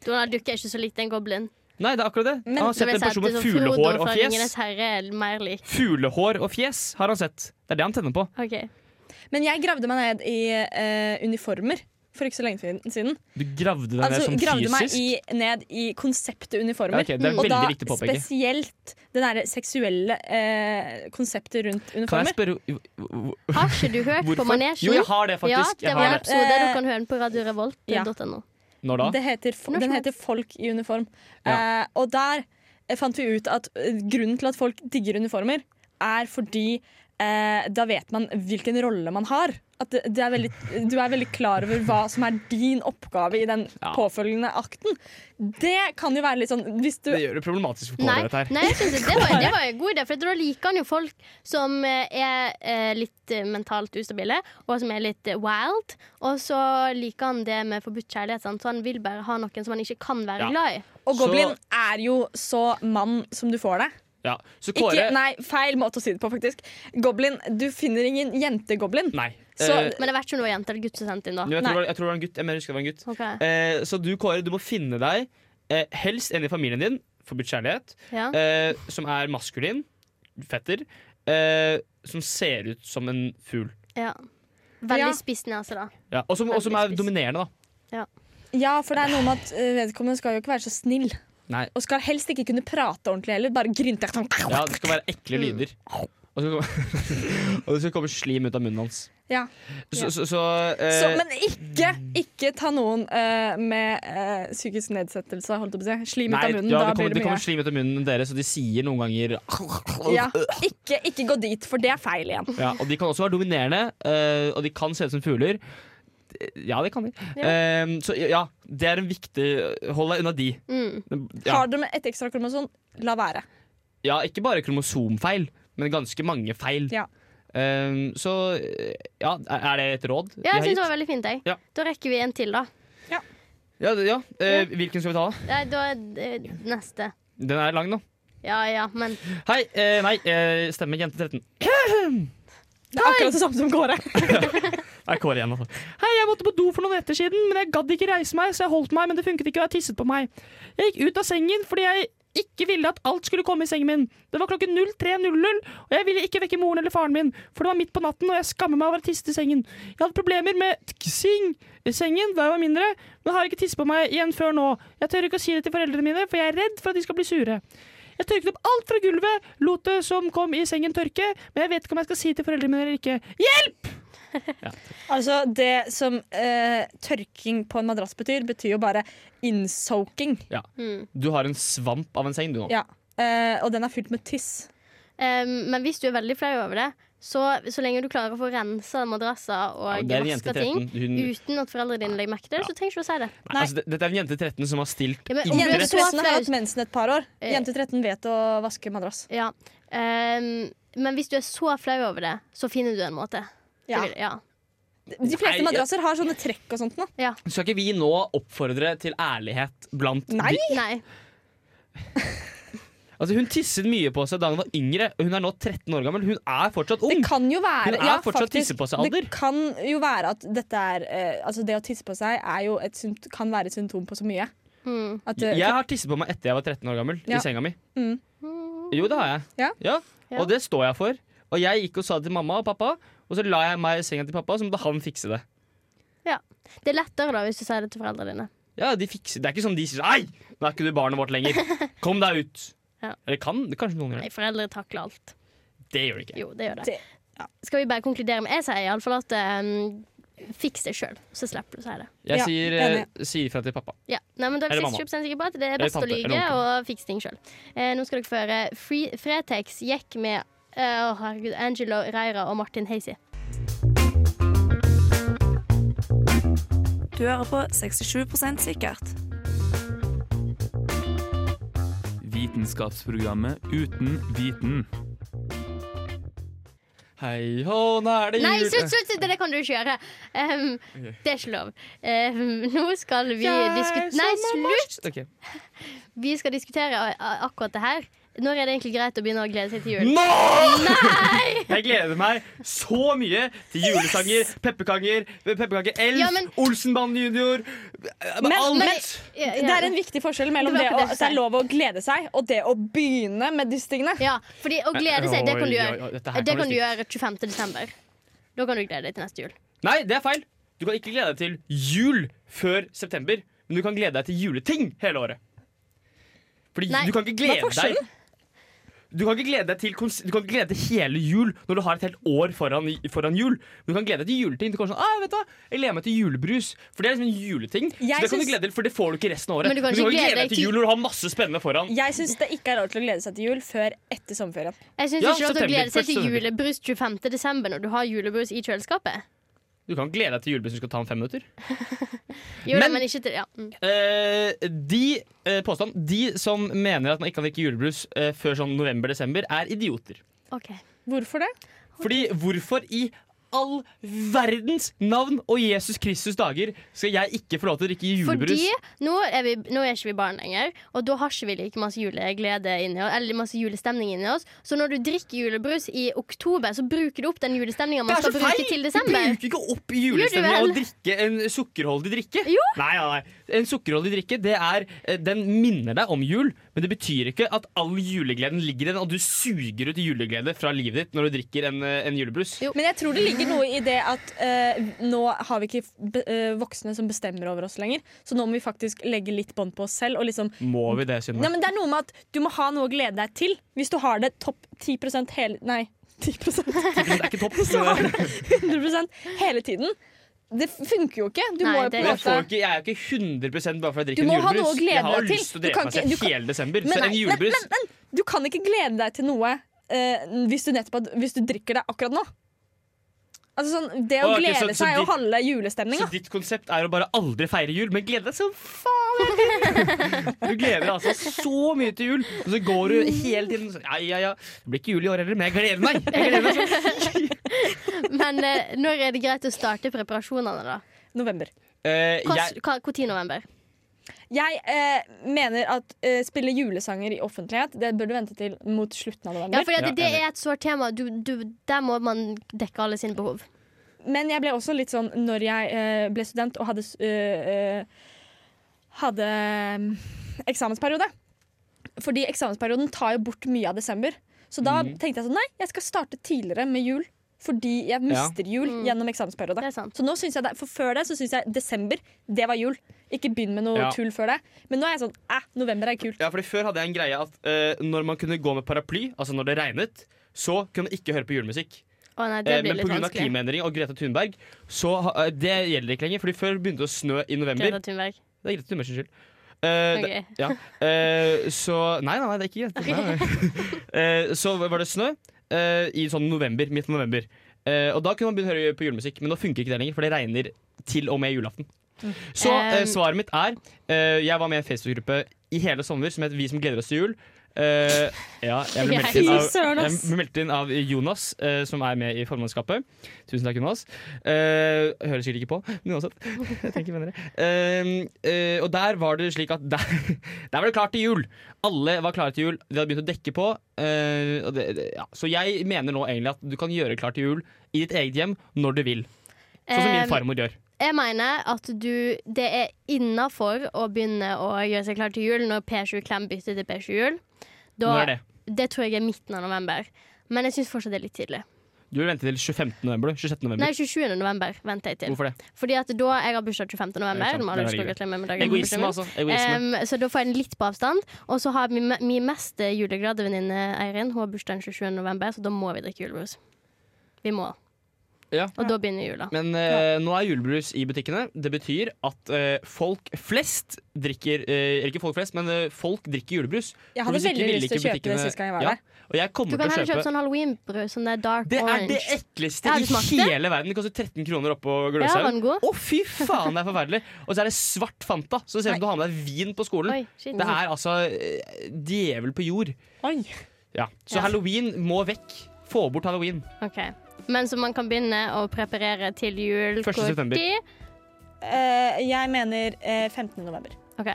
[SPEAKER 3] Donald Duck er ikke så lite en goblin.
[SPEAKER 2] Nei, det er akkurat det.
[SPEAKER 4] Men-
[SPEAKER 2] han har sett
[SPEAKER 3] Så vil
[SPEAKER 2] en
[SPEAKER 3] jeg si at
[SPEAKER 2] person med
[SPEAKER 3] sånn
[SPEAKER 2] fuglehår
[SPEAKER 3] Frodo
[SPEAKER 2] og
[SPEAKER 3] fra
[SPEAKER 2] fjes.
[SPEAKER 3] Ringenes herre er mer lik.
[SPEAKER 2] Fuglehår og fjes har han sett. Det er det han tenner på.
[SPEAKER 3] Ok.
[SPEAKER 4] Men jeg gravde meg ned i eh, uniformer for ikke så lenge fin- siden.
[SPEAKER 2] Du gravde deg
[SPEAKER 4] Altså,
[SPEAKER 2] ned
[SPEAKER 4] gravde
[SPEAKER 2] som
[SPEAKER 4] meg
[SPEAKER 2] sånn fysisk.
[SPEAKER 4] i, ned i konseptet uniformer.
[SPEAKER 2] Ja, ok, det er
[SPEAKER 4] og da
[SPEAKER 2] veldig viktig å påpeke.
[SPEAKER 4] spesielt det derre seksuelle eh, konseptet rundt
[SPEAKER 2] Kan jeg
[SPEAKER 4] uniformer.
[SPEAKER 2] spørre hvor-
[SPEAKER 3] Har ikke du
[SPEAKER 2] <laughs>
[SPEAKER 3] hørt
[SPEAKER 2] hvorfor?
[SPEAKER 3] på Manesjen?
[SPEAKER 2] Jo, jeg har det,
[SPEAKER 3] Ja,
[SPEAKER 2] faktisk.
[SPEAKER 3] det
[SPEAKER 2] jeg
[SPEAKER 3] var
[SPEAKER 2] har det.
[SPEAKER 3] en
[SPEAKER 2] Eh,
[SPEAKER 3] episode
[SPEAKER 4] Eh,
[SPEAKER 3] du kan høre den på radiorevolt.no.
[SPEAKER 2] Når da?
[SPEAKER 4] Det heter, fo-
[SPEAKER 3] Når
[SPEAKER 4] den
[SPEAKER 3] som
[SPEAKER 4] heter Folk i uniform.
[SPEAKER 2] Ja.
[SPEAKER 4] Eh, og der eh, fant vi ut at eh, grunnen til at folk digger uniformer, er fordi eh, da vet man hvilken rolle man har. At det, det er veldig, du er veldig klar over hva som er din oppgave i den
[SPEAKER 2] Ja.
[SPEAKER 4] påfølgende akten. Det kan jo være litt sånn hvis du,
[SPEAKER 2] Det gjør det problematisk for Kåre,
[SPEAKER 3] Nei,
[SPEAKER 2] dette her.
[SPEAKER 3] nei jeg synes det, det, var,
[SPEAKER 2] <laughs>
[SPEAKER 3] det var en god idé, for da liker han jo folk som eh, er eh, litt eh, mentalt ustabile, og som er litt eh, wild. Og så liker han det med forbudt kjærlighet, sant? så han vil bare ha noen som han ikke kan være
[SPEAKER 2] Ja.
[SPEAKER 3] glad i.
[SPEAKER 4] Og goblin er jo så mann som du får det.
[SPEAKER 2] Ja. Så Kåre
[SPEAKER 4] Ikke, nei, feil måte å si det på, faktisk. Goblin, Du finner ingen jentegoblin.
[SPEAKER 2] Nei.
[SPEAKER 4] Så-
[SPEAKER 2] Eh,
[SPEAKER 3] Men det vet ikke om det var jente eller gutt som sendte inn, da.
[SPEAKER 2] jo, jeg, tror, det
[SPEAKER 4] nei.
[SPEAKER 2] var- jeg tror det var en gutt. Jeg mener, jeg husker det var en gutt.
[SPEAKER 3] Ok,
[SPEAKER 2] Eh, så du, Kåre, du må finne deg eh, helst en i familien din, forbudt kjærlighet,
[SPEAKER 3] ja.
[SPEAKER 2] eh, som er maskulin, fetter, eh, som ser ut som en fugl.
[SPEAKER 3] Ja. Veldig
[SPEAKER 4] Ja.
[SPEAKER 3] spiss nese, da.
[SPEAKER 2] Ja. Og som og som er
[SPEAKER 3] Veldig spiss.
[SPEAKER 2] dominerende, da.
[SPEAKER 4] Ja, for det er noe med at eh, vedkommende skal jo ikke være så snill.
[SPEAKER 2] Nei.
[SPEAKER 4] Og skal helst ikke kunne prate ordentlig heller. Bare grynte. Sånn.
[SPEAKER 2] Ja, det skal være ekle
[SPEAKER 4] Mm.
[SPEAKER 2] lyder. Og, så kommer- <laughs> og det skal komme slim ut av munnen hans.
[SPEAKER 4] Ja.
[SPEAKER 2] Så, så, så,
[SPEAKER 4] Så,
[SPEAKER 2] eh,
[SPEAKER 4] men ikke, ikke ta noen eh, med eh, psykisk nedsettelse, holdt jeg på å si. Slim ut
[SPEAKER 2] Nei,
[SPEAKER 4] av munnen.
[SPEAKER 2] ja,
[SPEAKER 4] da
[SPEAKER 2] det kommer,
[SPEAKER 4] blir det
[SPEAKER 2] det
[SPEAKER 4] mye.
[SPEAKER 2] kommer slim ut av munnen deres, og de sier noen ganger
[SPEAKER 4] Ja. Ikke, ikke gå dit, for det er feil igjen.
[SPEAKER 2] <laughs> Ja, og de kan også være dominerende, eh, og de kan se ut som fugler. Ja, det kan de. Eh, så ja, det er en viktig Hold deg unna de.
[SPEAKER 3] Mm.
[SPEAKER 2] Ja,
[SPEAKER 4] Har du med et ekstra kromosom, la være.
[SPEAKER 2] ja ikke bare kromosomfeil, men ganske mange feil.
[SPEAKER 4] Ja.
[SPEAKER 2] Eh, så ja, er er det et råd? vi
[SPEAKER 3] Ja,
[SPEAKER 2] har
[SPEAKER 3] jeg syns det
[SPEAKER 2] gitt?
[SPEAKER 3] var veldig fint. Jeg.
[SPEAKER 2] Ja.
[SPEAKER 3] Da rekker vi en til, da.
[SPEAKER 2] ja, det- ja. Eh, hvilken skal vi ta? da?
[SPEAKER 3] Nei, da eh, neste.
[SPEAKER 2] Den er lang nå.
[SPEAKER 3] Ja ja, men
[SPEAKER 2] Hei, eh, nei, eh, stemmer jente 13.
[SPEAKER 4] Det er akkurat det samme som Kåre.
[SPEAKER 2] Nei, Kåre igjen, altså. Hei, jeg måtte på do for noen netter siden, men jeg gadd ikke reise meg, så jeg holdt meg, men det funket ikke, og jeg tisset på meg. Jeg gikk ut av sengen fordi jeg ikke ville at alt skulle komme i sengen min. Det var klokken 03.00, og jeg ville ikke vekke moren eller faren min, for det var midt på natten, og jeg skammer meg over å tisse i sengen. Jeg hadde problemer med tksing i sengen da jeg var mindre, men har ikke tisset på meg igjen før nå. Jeg tør ikke å si det til foreldrene mine, for jeg er redd for at de skal bli sure. Jeg tørket opp alt fra gulvet, lot det som kom i sengen tørke, men jeg vet ikke om jeg skal si det til foreldrene mine eller ikke. Hjelp!
[SPEAKER 4] <laughs> Altså, det som eh, tørking på en madrass betyr, betyr jo bare insoaking.
[SPEAKER 2] Du har en svamp av en seng, du nå.
[SPEAKER 4] Ja. Eh, og den er fylt med tiss.
[SPEAKER 3] Um, men hvis du er veldig flau over det, så, så lenge du klarer å få rensa madrasser og
[SPEAKER 2] Ja, det er en jente
[SPEAKER 3] vaska
[SPEAKER 2] 13.
[SPEAKER 3] ting
[SPEAKER 2] Hun,
[SPEAKER 3] uten at foreldrene dine legger merke til det, så trenger du ikke å si det.
[SPEAKER 2] Nei, altså, det- dette er en jente 13 som har stilt
[SPEAKER 3] Ja, men om
[SPEAKER 4] Jente
[SPEAKER 3] du er så
[SPEAKER 4] 13 har
[SPEAKER 3] flau
[SPEAKER 4] hatt mensen et par år.
[SPEAKER 3] Eh.
[SPEAKER 4] Jente 13 vet å vaske madrass.
[SPEAKER 3] ja. um, Men hvis du er så flau over det, så finner du en måte. Det
[SPEAKER 4] Ja.
[SPEAKER 3] vil- ja.
[SPEAKER 4] De
[SPEAKER 2] Nei,
[SPEAKER 4] fleste
[SPEAKER 2] jeg-
[SPEAKER 4] madrasser har sånne trekk og sånt nå.
[SPEAKER 2] Skal ikke vi nå oppfordre til ærlighet blant
[SPEAKER 4] Nei!
[SPEAKER 3] Nei.
[SPEAKER 2] de- Altså, hun tisset mye på seg da hun var yngre. Hun er nå 13 år gammel. Hun er fortsatt
[SPEAKER 4] Det
[SPEAKER 2] ung.
[SPEAKER 4] kan jo være
[SPEAKER 2] Hun er
[SPEAKER 4] ja,
[SPEAKER 2] fortsatt
[SPEAKER 4] faktisk,
[SPEAKER 2] tissepåsealder.
[SPEAKER 4] Det kan jo være at dette er eh, Altså det å tisse på seg er jo et, sympt- kan være et symptom på så mye.
[SPEAKER 3] Hmm.
[SPEAKER 4] At, eh,
[SPEAKER 2] Jeg har tisset på meg etter jeg var 13 år gammel.
[SPEAKER 4] Ja.
[SPEAKER 2] I senga mi.
[SPEAKER 4] Mm.
[SPEAKER 2] Jo, det har jeg.
[SPEAKER 4] Ja.
[SPEAKER 2] Og det står jeg for. Og jeg gikk og sa det til mamma og pappa, og så la jeg meg i senga til pappa, så måtte han fikse det.
[SPEAKER 3] Det er lettere da hvis du sier det til foreldrene dine.
[SPEAKER 2] Ja, de fikser. Det er ikke sånn de sier Nei, nå er ikke du barnet vårt
[SPEAKER 4] <laughs>
[SPEAKER 2] lenger. Kom deg ut.
[SPEAKER 3] Ja.
[SPEAKER 2] Eller kan det kanskje noen gjør
[SPEAKER 3] Nei,
[SPEAKER 2] det.
[SPEAKER 3] foreldre takler alt.
[SPEAKER 2] Det gjør de ikke.
[SPEAKER 3] Jo, det gjør det.
[SPEAKER 4] Det-
[SPEAKER 3] Skal vi bare konkludere med Jeg sier iallfall at um, fiks det sjøl, så slipper du å si det.
[SPEAKER 2] Jeg
[SPEAKER 4] Ja,
[SPEAKER 2] sier,
[SPEAKER 4] enig.
[SPEAKER 2] eh, sier fra til pappa.
[SPEAKER 3] Ja, Nei, men da er
[SPEAKER 2] Eller
[SPEAKER 3] vi
[SPEAKER 2] mamma.
[SPEAKER 3] 60% sikre på at det er
[SPEAKER 2] Eller
[SPEAKER 3] best å
[SPEAKER 2] tante,
[SPEAKER 3] lyge
[SPEAKER 2] eller
[SPEAKER 3] og fikse ting sjøl. Eh, nå skal dere få høre Free- Fretex gikk med eh, Å, herregud, Angelo Reira og Martin Hazy.
[SPEAKER 1] Du hører på 67 sikkert.
[SPEAKER 5] Vitenskapsprogrammet Uten viten.
[SPEAKER 2] Hei hå, nå er det jul
[SPEAKER 3] Nei, slutt, slutt! slutt, Det kan du ikke gjøre. Ehm, det er ikke lov. Ehm, nå skal vi diskutere Nei, slutt!
[SPEAKER 2] Ok.
[SPEAKER 3] Vi skal diskutere a- a- akkurat det her. Når er det egentlig greit å begynne å glede seg til jul?
[SPEAKER 2] Nå! <laughs> Jeg gleder meg så mye til julesanger, pepperkaker, pepperkake Elf,
[SPEAKER 3] Ja, men-
[SPEAKER 2] Olsenbanden junior
[SPEAKER 4] Men-
[SPEAKER 2] Alt!
[SPEAKER 4] men-
[SPEAKER 3] Ja,
[SPEAKER 4] Det er en viktig forskjell mellom det,
[SPEAKER 3] Det
[SPEAKER 4] å,
[SPEAKER 3] var akkurat det jeg
[SPEAKER 4] at det er lov å glede seg, og det å begynne med disse tingene.
[SPEAKER 3] ja, fordi å glede seg, det
[SPEAKER 2] Oi,
[SPEAKER 3] kan du
[SPEAKER 2] oi,
[SPEAKER 3] gjøre.
[SPEAKER 2] oi, dette her
[SPEAKER 3] Det
[SPEAKER 2] bli
[SPEAKER 3] kan du
[SPEAKER 2] stygt.
[SPEAKER 3] gjøre 25. desember. Da kan du glede deg til neste jul.
[SPEAKER 2] Nei, det er feil. Du kan ikke glede deg til jul før september, men du kan glede deg til juleting hele året. Fordi
[SPEAKER 3] Nei,
[SPEAKER 2] du kan
[SPEAKER 4] hva
[SPEAKER 2] ikke
[SPEAKER 4] er
[SPEAKER 2] glede deg
[SPEAKER 4] forskjellen?
[SPEAKER 2] du kan, ikke glede deg til, kons- du kan ikke glede deg til hele jul når du har et helt år foran, foran jul. Men du kan glede deg til juleting. Du kan være sånn, ah, vet du, hva, jeg gleder meg til julebrus. For det er liksom en juleting.
[SPEAKER 4] Jeg
[SPEAKER 2] så det kan du
[SPEAKER 4] syns-
[SPEAKER 2] glede deg til, for det får du ikke resten av året.
[SPEAKER 3] Men du kan ikke glede deg
[SPEAKER 2] deg til
[SPEAKER 3] til-
[SPEAKER 2] jul når du har masse spennende foran.
[SPEAKER 4] Jeg syns det ikke er lov til å glede seg til jul før etter sommerferien.
[SPEAKER 3] Jeg syns
[SPEAKER 2] Ja,
[SPEAKER 3] ikke lov til å
[SPEAKER 2] september.
[SPEAKER 3] glede seg til
[SPEAKER 2] Første september.
[SPEAKER 3] julebrus 25. desember når du har julebrus i kjøleskapet.
[SPEAKER 2] Du kan glede deg til julebrus du skal ta om fem minutter.
[SPEAKER 3] Jo, men,
[SPEAKER 2] Men-
[SPEAKER 3] men ikke til ja. mm.
[SPEAKER 2] Eh, de, eh, påstand, de som mener at man ikke kan drikke julebrus eh, før sånn november-desember, er idioter.
[SPEAKER 3] OK.
[SPEAKER 4] Hvorfor det?
[SPEAKER 2] Fordi hvorfor i all verdens navn og Jesus Kristus dager skal jeg ikke få lov til å drikke julebrus?
[SPEAKER 3] Fordi nå er, vi, nå er ikke vi barn lenger, og da har ikke vi like masse juleglede inni oss, eller masse julestemning inni oss. Så når du drikker julebrus i oktober, så bruker du opp den julestemninga man skal bruke til
[SPEAKER 2] Du
[SPEAKER 3] desember. <laughs>
[SPEAKER 2] bruker ikke opp
[SPEAKER 3] Gjør
[SPEAKER 2] julestemningen
[SPEAKER 3] du
[SPEAKER 2] av
[SPEAKER 3] vel?
[SPEAKER 2] å drikke en sukkerholdig drikke.
[SPEAKER 3] Jo.
[SPEAKER 2] Nei, nei, nei. En sukkerholdig drikke det er, eh, den minner deg om jul, men det betyr ikke at all julegleden ligger i den, og du suger ut juleglede fra livet ditt når du drikker en, eh, en julebrus.
[SPEAKER 3] Jo.
[SPEAKER 4] Men jeg tror det ligger noe i det at eh, nå har vi ikke be- eh, voksne som bestemmer over oss lenger, så nå må vi faktisk legge litt bånd på oss selv. Og liksom,
[SPEAKER 2] Må vi det, Synne?
[SPEAKER 4] nei, men det er noe med at du må ha noe å glede deg til. Hvis du har det topp 10 hele Nei, 10
[SPEAKER 2] Det er
[SPEAKER 3] <laughs>
[SPEAKER 2] ikke topp.
[SPEAKER 4] så har du 100 hele tiden. Det funker jo ikke. Du
[SPEAKER 3] Nei,
[SPEAKER 4] må jo
[SPEAKER 3] det
[SPEAKER 4] på en
[SPEAKER 2] Men jeg, får
[SPEAKER 4] måte
[SPEAKER 2] ikke, jeg er jo ikke 100 bare for at
[SPEAKER 4] altså,
[SPEAKER 2] jeg drikker
[SPEAKER 4] Du
[SPEAKER 2] en
[SPEAKER 4] må ha
[SPEAKER 2] julebrus.
[SPEAKER 4] noe å glede
[SPEAKER 2] jeg har jo
[SPEAKER 4] deg til.
[SPEAKER 2] lyst til å
[SPEAKER 4] Du
[SPEAKER 2] drepe
[SPEAKER 4] kan
[SPEAKER 2] meg selv
[SPEAKER 4] ikke- du kan-
[SPEAKER 2] hele desember.
[SPEAKER 4] Men
[SPEAKER 2] så
[SPEAKER 4] nei,
[SPEAKER 2] en julebrus
[SPEAKER 4] men, men, men, Du kan ikke glede deg til noe eh, hvis, du nettopp, har- hvis du drikker det akkurat nå. Altså sånn, Det å
[SPEAKER 2] Å, ok,
[SPEAKER 4] glede
[SPEAKER 2] så- så
[SPEAKER 4] seg
[SPEAKER 2] de-
[SPEAKER 4] og halve julestemninga.
[SPEAKER 2] Så ditt konsept er å bare aldri feire jul, men glede deg som faen!
[SPEAKER 4] <laughs>
[SPEAKER 2] Du gleder deg altså så mye til jul, og så går du hele tiden sånn Ja, ja, ja. Det blir ikke jul i år heller, men jeg gleder meg! Jeg gleder meg
[SPEAKER 4] <laughs>
[SPEAKER 2] sånn.
[SPEAKER 3] Men eh, når er det greit å starte preparasjonene, da?
[SPEAKER 4] November.
[SPEAKER 2] Eh, jeg,
[SPEAKER 3] Når i november?
[SPEAKER 4] Jeg eh, mener at eh, spille julesanger i offentlighet Det bør du vente til mot slutten av
[SPEAKER 3] Ja,
[SPEAKER 4] november.
[SPEAKER 3] for
[SPEAKER 2] Ja,
[SPEAKER 3] det, det
[SPEAKER 2] enig.
[SPEAKER 3] er et sårt tema. Du, du, der må man dekke alle sine behov.
[SPEAKER 4] Men jeg ble også litt sånn når jeg eh, ble student og hadde s- eh, eh, Hadde mm, eksamensperiode. Fordi eksamensperioden tar jo bort mye av desember. Så da
[SPEAKER 2] Mhm.
[SPEAKER 4] tenkte jeg sånn Nei, jeg skal starte tidligere med jul. Fordi jeg mister jul
[SPEAKER 3] Mm.
[SPEAKER 4] gjennom eksamensperiode.
[SPEAKER 3] Det er sant.
[SPEAKER 4] Så nå synes jeg det, for Før det så syns jeg desember, det var jul. Ikke begynn med noe
[SPEAKER 2] Ja.
[SPEAKER 4] tull før det. Men nå er jeg sånn Æh, november er kult.
[SPEAKER 2] ja, fordi før hadde jeg en greie at eh, når man kunne gå med paraply, altså når det regnet, så kunne man ikke høre på julemusikk.
[SPEAKER 3] Å nei, det
[SPEAKER 2] Eh,
[SPEAKER 3] blir
[SPEAKER 2] Men
[SPEAKER 3] litt
[SPEAKER 2] pga.
[SPEAKER 3] vanskelig.
[SPEAKER 2] klimaendring og Greta Thunberg, så ha- eh, det gjelder ikke lenger. Fordi før begynte det å snø i november.
[SPEAKER 3] Greta Thunberg.
[SPEAKER 2] Det er Greta Thunbergs skyld. Eh, det-
[SPEAKER 3] Ok.
[SPEAKER 2] ja. Eh, så Nei, nei, nei, det er ikke greit. Nei, nei. Eh, så var det snø eh, i sånn november, midt av november. Eh, og da kunne man begynne å høre på julemusikk, men nå funker ikke det lenger, for det regner til og med julaften. Så eh,
[SPEAKER 3] Um,
[SPEAKER 2] svaret mitt er eh, Jeg var med i en Facebook-gruppe i hele sommer som het Vi som gleder oss til jul. Eh, ja, jeg ble meldt inn
[SPEAKER 4] Fy
[SPEAKER 2] av,
[SPEAKER 4] søren,
[SPEAKER 2] jeg
[SPEAKER 4] ass.
[SPEAKER 2] ble meldt inn av Jonas, eh, som er med i formannskapet. Tusen takk, Jonas. Eh, hører sikkert ikke på, men uansett. <laughs> Jeg tenker venner. Eh, eh, og der var det slik at der, <laughs> der var det klart til jul! Alle var klare til jul. De hadde begynt å dekke på. eh, og det, det, ja. Så jeg mener nå egentlig at du kan gjøre klart til jul i ditt eget hjem når du vil. Sånn som
[SPEAKER 3] Um,
[SPEAKER 2] min farmor gjør.
[SPEAKER 3] Jeg mener at du, det er innafor å begynne å gjøre seg klar til jul når P7 Klem bytter til P7 Jul. Da-
[SPEAKER 2] Når er det?
[SPEAKER 3] Det tror jeg er midten av november. Men jeg syns fortsatt det er litt tidlig.
[SPEAKER 2] Du vil vente til 25. november? du. 26. november.
[SPEAKER 3] Nei, 27. november venter jeg til.
[SPEAKER 2] Hvorfor det?
[SPEAKER 3] Fordi at da jeg har bursdag 25.
[SPEAKER 2] Ja, ikke
[SPEAKER 3] november.
[SPEAKER 2] sant.
[SPEAKER 3] nå må
[SPEAKER 2] Det er veldig
[SPEAKER 3] alle huske å
[SPEAKER 2] greit.
[SPEAKER 3] gratulere meg med dagen.
[SPEAKER 2] Egoisme,
[SPEAKER 3] Bursdagen.
[SPEAKER 2] altså. Egoisme.
[SPEAKER 3] Em, så da får jeg den litt på avstand. Og så har min, min mest juleglade venninne Eirin Hun har bursdag den 27. november, så da må vi drikke julebrus. Vi må.
[SPEAKER 2] Ja.
[SPEAKER 3] Og da begynner jula.
[SPEAKER 2] Men eh, nå er julebrus i butikkene. Det betyr at eh, folk flest drikker eh, Eller ikke folk flest, men eh, folk drikker julebrus.
[SPEAKER 4] Jeg
[SPEAKER 2] For
[SPEAKER 4] hadde
[SPEAKER 2] hvis ikke
[SPEAKER 4] veldig
[SPEAKER 2] ville
[SPEAKER 4] lyst til å
[SPEAKER 2] ikke
[SPEAKER 4] kjøpe det
[SPEAKER 2] butikkene-
[SPEAKER 4] sist gang jeg var
[SPEAKER 2] Ja,
[SPEAKER 4] der.
[SPEAKER 2] Og jeg
[SPEAKER 3] Du
[SPEAKER 2] kommer
[SPEAKER 3] kan
[SPEAKER 2] til å
[SPEAKER 3] heller kjøpe
[SPEAKER 2] kjøpe
[SPEAKER 3] sånn halloweenbrus, sånn der dark
[SPEAKER 2] Det er
[SPEAKER 3] orange.
[SPEAKER 2] det ekleste
[SPEAKER 3] Ja, har du
[SPEAKER 2] i
[SPEAKER 3] smakt det?
[SPEAKER 2] hele verden. Det koster 13 kroner oppå
[SPEAKER 3] ja, var
[SPEAKER 2] Gløshaugen.
[SPEAKER 3] den god?
[SPEAKER 2] Å, fy faen, det er forferdelig! Og så er det svart Fanta, så det ser ut som du har med deg vin på skolen.
[SPEAKER 3] Oi, shit.
[SPEAKER 2] Det er altså eh, djevel på jord.
[SPEAKER 4] Oi.
[SPEAKER 2] Ja. Så halloween må vekk. Få bort halloween.
[SPEAKER 3] Ok. Men så man kan begynne å preparere til jul.
[SPEAKER 2] Første
[SPEAKER 3] hvor
[SPEAKER 2] september.
[SPEAKER 3] tid?
[SPEAKER 4] Eh, jeg mener eh, 15. november.
[SPEAKER 3] Ok,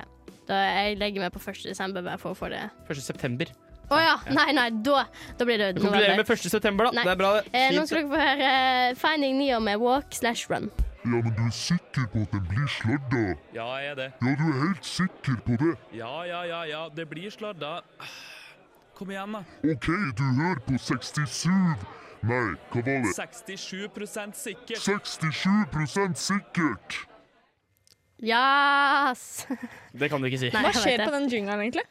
[SPEAKER 3] da jeg legger meg på 1. desember bare for å få det.
[SPEAKER 2] 1. september.
[SPEAKER 3] Å ja, nei, nei, da, da blir det
[SPEAKER 2] Vi konkluderer
[SPEAKER 3] november.
[SPEAKER 2] med 1. september, da.
[SPEAKER 3] Nei.
[SPEAKER 2] Det er bra, det.
[SPEAKER 3] Eh, nå
[SPEAKER 2] Fint.
[SPEAKER 3] skal dere få høre eh, Finding Neo med Walk slash Run.
[SPEAKER 9] Ja, men du er sikker på at den blir sladda?
[SPEAKER 5] Ja, jeg er det.
[SPEAKER 9] Ja, du er helt sikker på det?
[SPEAKER 5] Ja, ja, ja, ja. Det blir sladda. Kom igjen, da.
[SPEAKER 9] OK, du hører på 67 Nei, hva var det?
[SPEAKER 5] 67 sikkert.
[SPEAKER 9] 67 sikkert!
[SPEAKER 3] Yes! <laughs>
[SPEAKER 2] Det kan du ikke si.
[SPEAKER 3] Nei,
[SPEAKER 4] Hva
[SPEAKER 3] jeg
[SPEAKER 4] skjer
[SPEAKER 3] vet
[SPEAKER 4] på den jungelen, egentlig?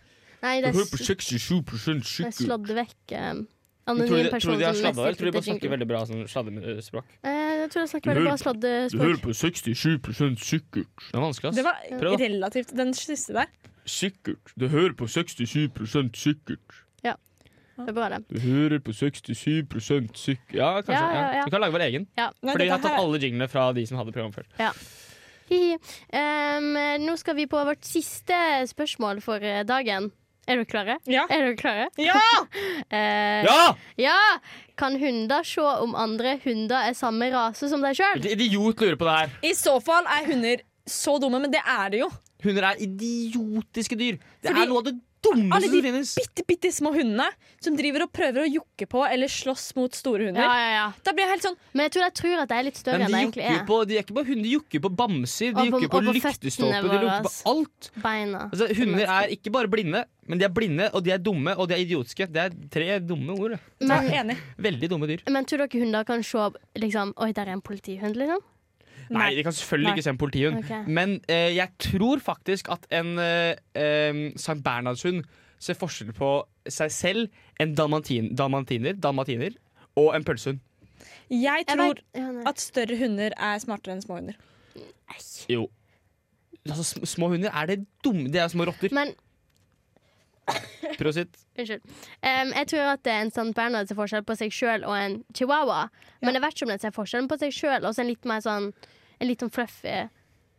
[SPEAKER 3] Nei,
[SPEAKER 2] Jeg
[SPEAKER 3] det er,
[SPEAKER 2] hører på
[SPEAKER 3] s-
[SPEAKER 2] 67
[SPEAKER 3] det er sladd vekk eh,
[SPEAKER 2] Tror du,
[SPEAKER 3] anonym
[SPEAKER 2] tror
[SPEAKER 3] person
[SPEAKER 2] du de har
[SPEAKER 3] som
[SPEAKER 2] sladda, eller tror du de bare
[SPEAKER 3] jingle.
[SPEAKER 2] snakker veldig bra sånn sladdespråk?
[SPEAKER 3] Eh, jeg tror jeg
[SPEAKER 2] Du
[SPEAKER 3] snakker veldig
[SPEAKER 2] hører
[SPEAKER 3] bra sladdespråk.
[SPEAKER 2] på 67 sikkert. Det er vanskelig,
[SPEAKER 4] Det
[SPEAKER 2] ass.
[SPEAKER 4] var
[SPEAKER 2] Prøv, da.
[SPEAKER 4] relativt den siste der.
[SPEAKER 2] Sikkert. Du hører på 67 sikkert.
[SPEAKER 3] Det er bra, det.
[SPEAKER 2] Du hører på 67 sikkert Ja, kanskje.
[SPEAKER 3] Ja, ja, ja.
[SPEAKER 2] Vi kan lage vår egen.
[SPEAKER 3] Ja.
[SPEAKER 4] Nei,
[SPEAKER 2] Fordi vi
[SPEAKER 4] dette
[SPEAKER 2] har tatt
[SPEAKER 4] her-
[SPEAKER 2] alle jinglene fra de som hadde program før.
[SPEAKER 3] Hihi. Em, nå skal vi på vårt siste spørsmål for eh, dagen. Er dere klare?
[SPEAKER 4] Ja.
[SPEAKER 3] Er dere klare?
[SPEAKER 4] ja!
[SPEAKER 3] Eh,
[SPEAKER 2] Ja!
[SPEAKER 3] Ja! Kan hunder se om andre hunder er samme rase som deg sjøl?
[SPEAKER 2] Hvilken idiot lurer på det her?
[SPEAKER 4] I så fall er hunder så dumme, men det er det jo.
[SPEAKER 2] Hunder er idiotiske dyr. Det
[SPEAKER 4] Fordi
[SPEAKER 2] er noe av det
[SPEAKER 4] alle
[SPEAKER 2] dummeste
[SPEAKER 4] de
[SPEAKER 2] som finnes.
[SPEAKER 4] Bitte, bitte små hundene som driver og prøver å jokke på eller slåss mot store hunder.
[SPEAKER 3] ja, ja.
[SPEAKER 4] Da blir jeg helt sånn
[SPEAKER 3] Men jeg tror de tror at de er litt større
[SPEAKER 2] Men
[SPEAKER 3] enn de
[SPEAKER 2] de
[SPEAKER 3] egentlig
[SPEAKER 2] jukker jo
[SPEAKER 3] er.
[SPEAKER 2] på, de er ikke bare hunder, de jukker på bamser, de
[SPEAKER 3] Og
[SPEAKER 2] jukker
[SPEAKER 3] på-
[SPEAKER 2] på,
[SPEAKER 3] og på føttene
[SPEAKER 2] lyktestolper, de
[SPEAKER 3] våre,
[SPEAKER 2] jukker på
[SPEAKER 3] ass.
[SPEAKER 2] alt.
[SPEAKER 3] Beina.
[SPEAKER 2] Altså, hunder er ikke bare blinde, men de er blinde, og de er dumme, og de er idiotiske. Det er tre dumme ord. da.
[SPEAKER 3] Men,
[SPEAKER 4] ja, Enig.
[SPEAKER 2] Veldig dumme dyr.
[SPEAKER 3] men tror dere hunder kan se liksom Oi, der er en politihund, liksom?
[SPEAKER 2] Nei, de kan selvfølgelig
[SPEAKER 4] Nei.
[SPEAKER 2] ikke se en politihund.
[SPEAKER 3] Ok.
[SPEAKER 2] Men eh, jeg tror faktisk at en eh, eh, St. Bernhardshund ser forskjell på seg selv, en dalmatin, dalmatiner, dalmatiner og en pølsehund.
[SPEAKER 4] Jeg
[SPEAKER 3] Jeg
[SPEAKER 4] tror
[SPEAKER 3] vet- ja, nei.
[SPEAKER 4] at større hunder er smartere enn små hunder.
[SPEAKER 2] Jo. Altså, sm- små hunder er det dumme De er små rotter.
[SPEAKER 3] Men
[SPEAKER 2] Prøv å sitte.
[SPEAKER 3] Unnskyld. Em, jeg tror at en St. Bernhard ser forskjell på seg sjøl og en chihuahua. Men jeg vet ikke om den ser forskjellen på seg sjøl og så en litt mer sånn En litt sånn fluffy,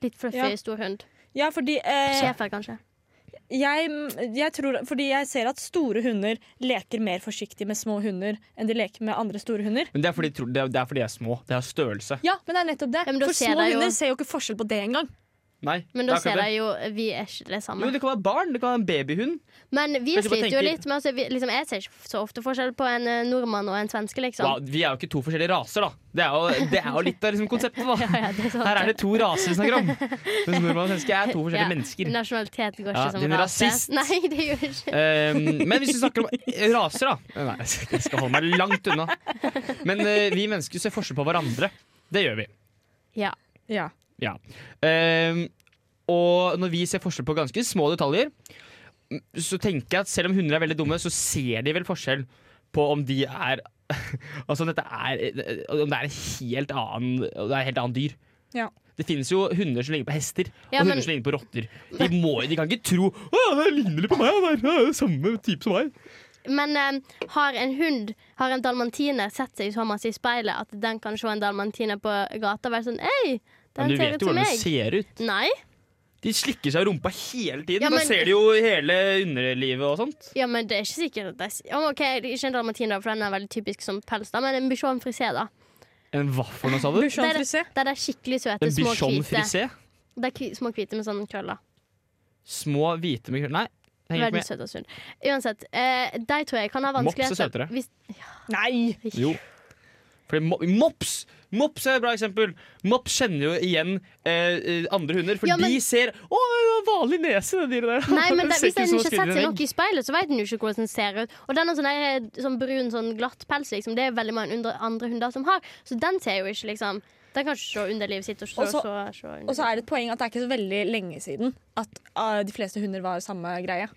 [SPEAKER 3] litt fluffy
[SPEAKER 4] Ja.
[SPEAKER 3] stor hund.
[SPEAKER 4] Ja, fordi eh,
[SPEAKER 3] Schæfer, kanskje.
[SPEAKER 4] jeg, jeg tror, fordi jeg ser at store hunder leker mer forsiktig med små hunder enn de leker med andre store hunder.
[SPEAKER 2] Men det er fordi, de tror- det er- det er fordi de er små. De har størrelse.
[SPEAKER 4] Ja, men det er nettopp det.
[SPEAKER 3] Ja, men da
[SPEAKER 4] For
[SPEAKER 3] ser
[SPEAKER 4] små
[SPEAKER 3] de jo-
[SPEAKER 4] hunder ser jo ikke forskjell på det engang.
[SPEAKER 2] Nei.
[SPEAKER 3] Men
[SPEAKER 2] det er akkurat
[SPEAKER 3] da ser
[SPEAKER 2] det.
[SPEAKER 3] de jo Vi er ikke det samme.
[SPEAKER 2] Jo, det kan være barn. Det kan være en babyhund.
[SPEAKER 3] Men vi
[SPEAKER 2] Hvis du bare
[SPEAKER 3] sliter jo
[SPEAKER 2] tenker-
[SPEAKER 3] litt med altså, vi, liksom, Jeg ser ikke så ofte forskjell på en eh, nordmann og en svenske, liksom.
[SPEAKER 2] Wow, vi er jo ikke to forskjellige raser, da. Det er jo, det er jo litt av liksom, konseptet, da.
[SPEAKER 3] <laughs> <laughs> Ja, ja, det er sant.
[SPEAKER 2] Her er det to raser vi snakker om. Mens nordmann og svenske er to forskjellige
[SPEAKER 3] Ja,
[SPEAKER 2] mennesker.
[SPEAKER 3] Nasjonalitet går ikke
[SPEAKER 2] Ja,
[SPEAKER 3] som
[SPEAKER 2] din
[SPEAKER 3] rase.
[SPEAKER 2] rasist.
[SPEAKER 3] Nei, det gjør ikke
[SPEAKER 2] Ehm, men hvis vi snakker om raser, da Nei, jeg skal holde meg langt unna. Men eh, vi mennesker ser forskjell på hverandre. Det gjør vi.
[SPEAKER 3] Ja.
[SPEAKER 4] Ja.
[SPEAKER 2] Ja. Ehm, og når vi ser forskjell på ganske små detaljer, m, så tenker jeg at selv om hunder er veldig dumme, så ser de vel forskjell på om de <laughs> er Altså om dette er Om det er en helt annen, om det er et helt annet dyr.
[SPEAKER 4] Ja.
[SPEAKER 2] Det finnes jo hunder som ligner på hester,
[SPEAKER 3] Ja,
[SPEAKER 2] og
[SPEAKER 3] men-
[SPEAKER 2] hunder som ligner på rotter. De, må, de kan ikke tro Å, det ligner litt på meg, han der. Ja, Samme type som meg.
[SPEAKER 3] Men eh, har en hund, har en dalmantiner, sett seg så masse i speilet at den kan se en dalmantiner på gata og være sånn Hei,
[SPEAKER 2] Men
[SPEAKER 3] den
[SPEAKER 2] du
[SPEAKER 3] ser
[SPEAKER 2] vet
[SPEAKER 3] ut
[SPEAKER 2] jo
[SPEAKER 3] som
[SPEAKER 2] hvordan du
[SPEAKER 3] meg.
[SPEAKER 2] ser ut.
[SPEAKER 3] Nei.
[SPEAKER 2] De slikker seg i rumpa hele tiden.
[SPEAKER 3] Ja,
[SPEAKER 2] Da
[SPEAKER 3] men-
[SPEAKER 2] ser de jo hele underlivet og sånt.
[SPEAKER 3] Ja, men det er ikke sikkert at det er s- Ja, men OK, det er ikke en dalmatiner, for den er veldig typisk som pels, da, men en bichon frisé, da.
[SPEAKER 2] En hva for noe, sa du?
[SPEAKER 4] Bushon
[SPEAKER 3] Der-
[SPEAKER 4] frisé.
[SPEAKER 3] Der det er skikkelig søte,
[SPEAKER 2] En
[SPEAKER 3] små
[SPEAKER 2] bichon
[SPEAKER 3] hvite.
[SPEAKER 2] frisé?
[SPEAKER 3] Det er kvi, små hvite med sånne krøller.
[SPEAKER 2] Små, hvite med krøll... Nei, det henger
[SPEAKER 3] Veldig
[SPEAKER 2] ikke med.
[SPEAKER 3] søte og sunn. Uansett, eh, de tror jeg kan ha
[SPEAKER 2] Mops er
[SPEAKER 3] vanskeligheter
[SPEAKER 2] søtere.
[SPEAKER 3] hvis-
[SPEAKER 4] Nei!
[SPEAKER 2] Jo. Fordi mo mops Mops er et bra eksempel. Mops kjenner jo igjen eh, eh, andre hunder, for
[SPEAKER 3] Ja, men-
[SPEAKER 2] de ser Å, det har vanlig nese, det dyret <laughs> der.
[SPEAKER 3] Nei, men
[SPEAKER 2] Det
[SPEAKER 3] det,
[SPEAKER 2] ser
[SPEAKER 3] Hvis
[SPEAKER 2] ikke
[SPEAKER 3] en
[SPEAKER 2] ut som å spille
[SPEAKER 3] ikke setter
[SPEAKER 2] en
[SPEAKER 3] seg
[SPEAKER 2] egg.
[SPEAKER 3] nok i speilet, så vet en jo ikke hvordan den ser ut. Og den har sånn, her, sånn brun, sånn glatt pels liksom. det er veldig mange under, andre hunder som har. Så den ser jo ikke liksom Den kan ikke se underlivet sitt. Og, så,
[SPEAKER 4] Og så-
[SPEAKER 3] så, så under-
[SPEAKER 4] Og så er det et poeng at det er ikke så veldig lenge siden at ah, de fleste hunder var samme greie.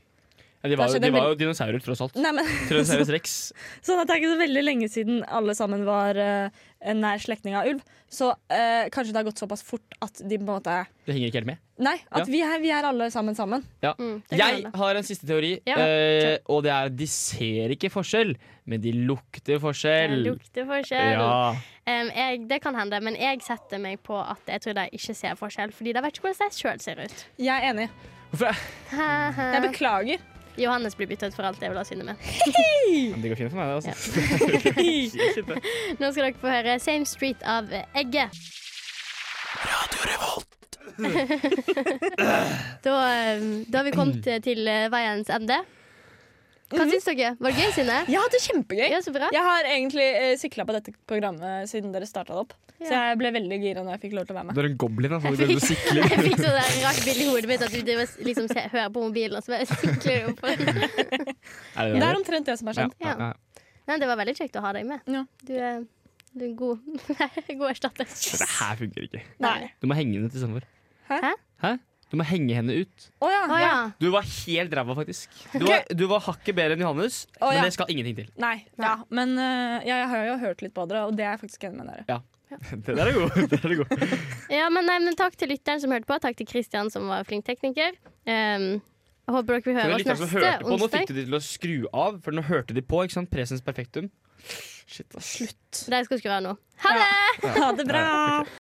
[SPEAKER 2] Ja, de,
[SPEAKER 4] Da
[SPEAKER 2] var, jo-
[SPEAKER 4] skjedde
[SPEAKER 2] de
[SPEAKER 4] en
[SPEAKER 2] var jo dinosaurer, tross alt.
[SPEAKER 4] Nei, men, <laughs>
[SPEAKER 2] Tyrannosaurus rex.
[SPEAKER 4] sånn at det er ikke så veldig lenge siden alle sammen var eh, en nær slektning av ulv. Så eh, kanskje det har gått såpass fort at de på en måte
[SPEAKER 2] Det henger ikke helt med.
[SPEAKER 4] Nei, at
[SPEAKER 2] Ja.
[SPEAKER 4] vi, er, vi er alle sammen sammen.
[SPEAKER 2] Ja.
[SPEAKER 3] mm, det kan
[SPEAKER 2] Jeg
[SPEAKER 3] hende.
[SPEAKER 2] har en siste teori,
[SPEAKER 3] Ja,
[SPEAKER 2] eh, og det er at de ser ikke forskjell, men de lukter
[SPEAKER 3] Det
[SPEAKER 2] forskjell.
[SPEAKER 3] lukter forskjell.
[SPEAKER 2] Ja.
[SPEAKER 3] Em, jeg, det kan hende, men jeg setter meg på at jeg tror de ikke ser forskjell, fordi de vet ikke hvordan de sjøl ser ut.
[SPEAKER 4] Jeg er enig.
[SPEAKER 2] Hvorfor?
[SPEAKER 4] Jeg beklager.
[SPEAKER 3] Johannes blir byttet ut for alt jeg vil ha synet med.
[SPEAKER 2] Men det går fint for meg, det. Altså.
[SPEAKER 3] Nå skal dere få høre Same Street av eh, Egge. <laughs> Da, eh, da har vi kommet eh, til eh, veiens ende. Hva syns dere? Var det gøy, Synne?
[SPEAKER 4] Jeg har hatt det kjempegøy.
[SPEAKER 3] Ja, så bra.
[SPEAKER 4] Jeg har egentlig uh, sikla på dette programmet siden dere starta det opp. Så jeg ble veldig gira når jeg fikk lov til å være med.
[SPEAKER 2] Du er en goblin, altså.
[SPEAKER 3] Jeg fikk, jeg fikk sånn der rart bilde i hodet mitt at du driver og liksom se, hører på mobilen og så bare sikler du opp.
[SPEAKER 2] Er
[SPEAKER 4] Det er omtrent det som er
[SPEAKER 2] Ja.
[SPEAKER 4] sant.
[SPEAKER 2] Ja. Ja.
[SPEAKER 3] Nei, det var veldig kjekt å ha deg med.
[SPEAKER 4] Ja.
[SPEAKER 3] Du er, du er en god, <laughs> god erstatter.
[SPEAKER 2] Det her funker ikke.
[SPEAKER 4] Nei.
[SPEAKER 2] Du må henge henne til sommer.
[SPEAKER 4] Hæ?
[SPEAKER 2] Hæ? Du må henge henne ut.
[SPEAKER 4] Å ja.
[SPEAKER 3] Å ja.
[SPEAKER 2] Du var helt ræva, faktisk. Du var, du var hakket bedre enn Johannes,
[SPEAKER 4] Å, ja.
[SPEAKER 2] men det skal ingenting til.
[SPEAKER 4] Nei. Ja. Men eh, jeg har jo hørt litt på dere, og det er jeg faktisk enig med dere.
[SPEAKER 2] <laughs> Det der er god. Det der er god.
[SPEAKER 3] ja men, nei, men takk til lytteren som hørte på. Takk til Kristian som var flink tekniker. Ehm, jeg håper dere vil
[SPEAKER 2] For
[SPEAKER 3] høre
[SPEAKER 2] de
[SPEAKER 3] oss
[SPEAKER 2] lytterne som
[SPEAKER 3] neste
[SPEAKER 2] hørte på, nå fikk
[SPEAKER 3] onsdag.
[SPEAKER 2] du de til å skru av, for nå hørte de på. ikke sant? Presens perfektum. Shit, ass.
[SPEAKER 4] Slutt.
[SPEAKER 3] Dere skal skru av nå.
[SPEAKER 4] Ha det bra!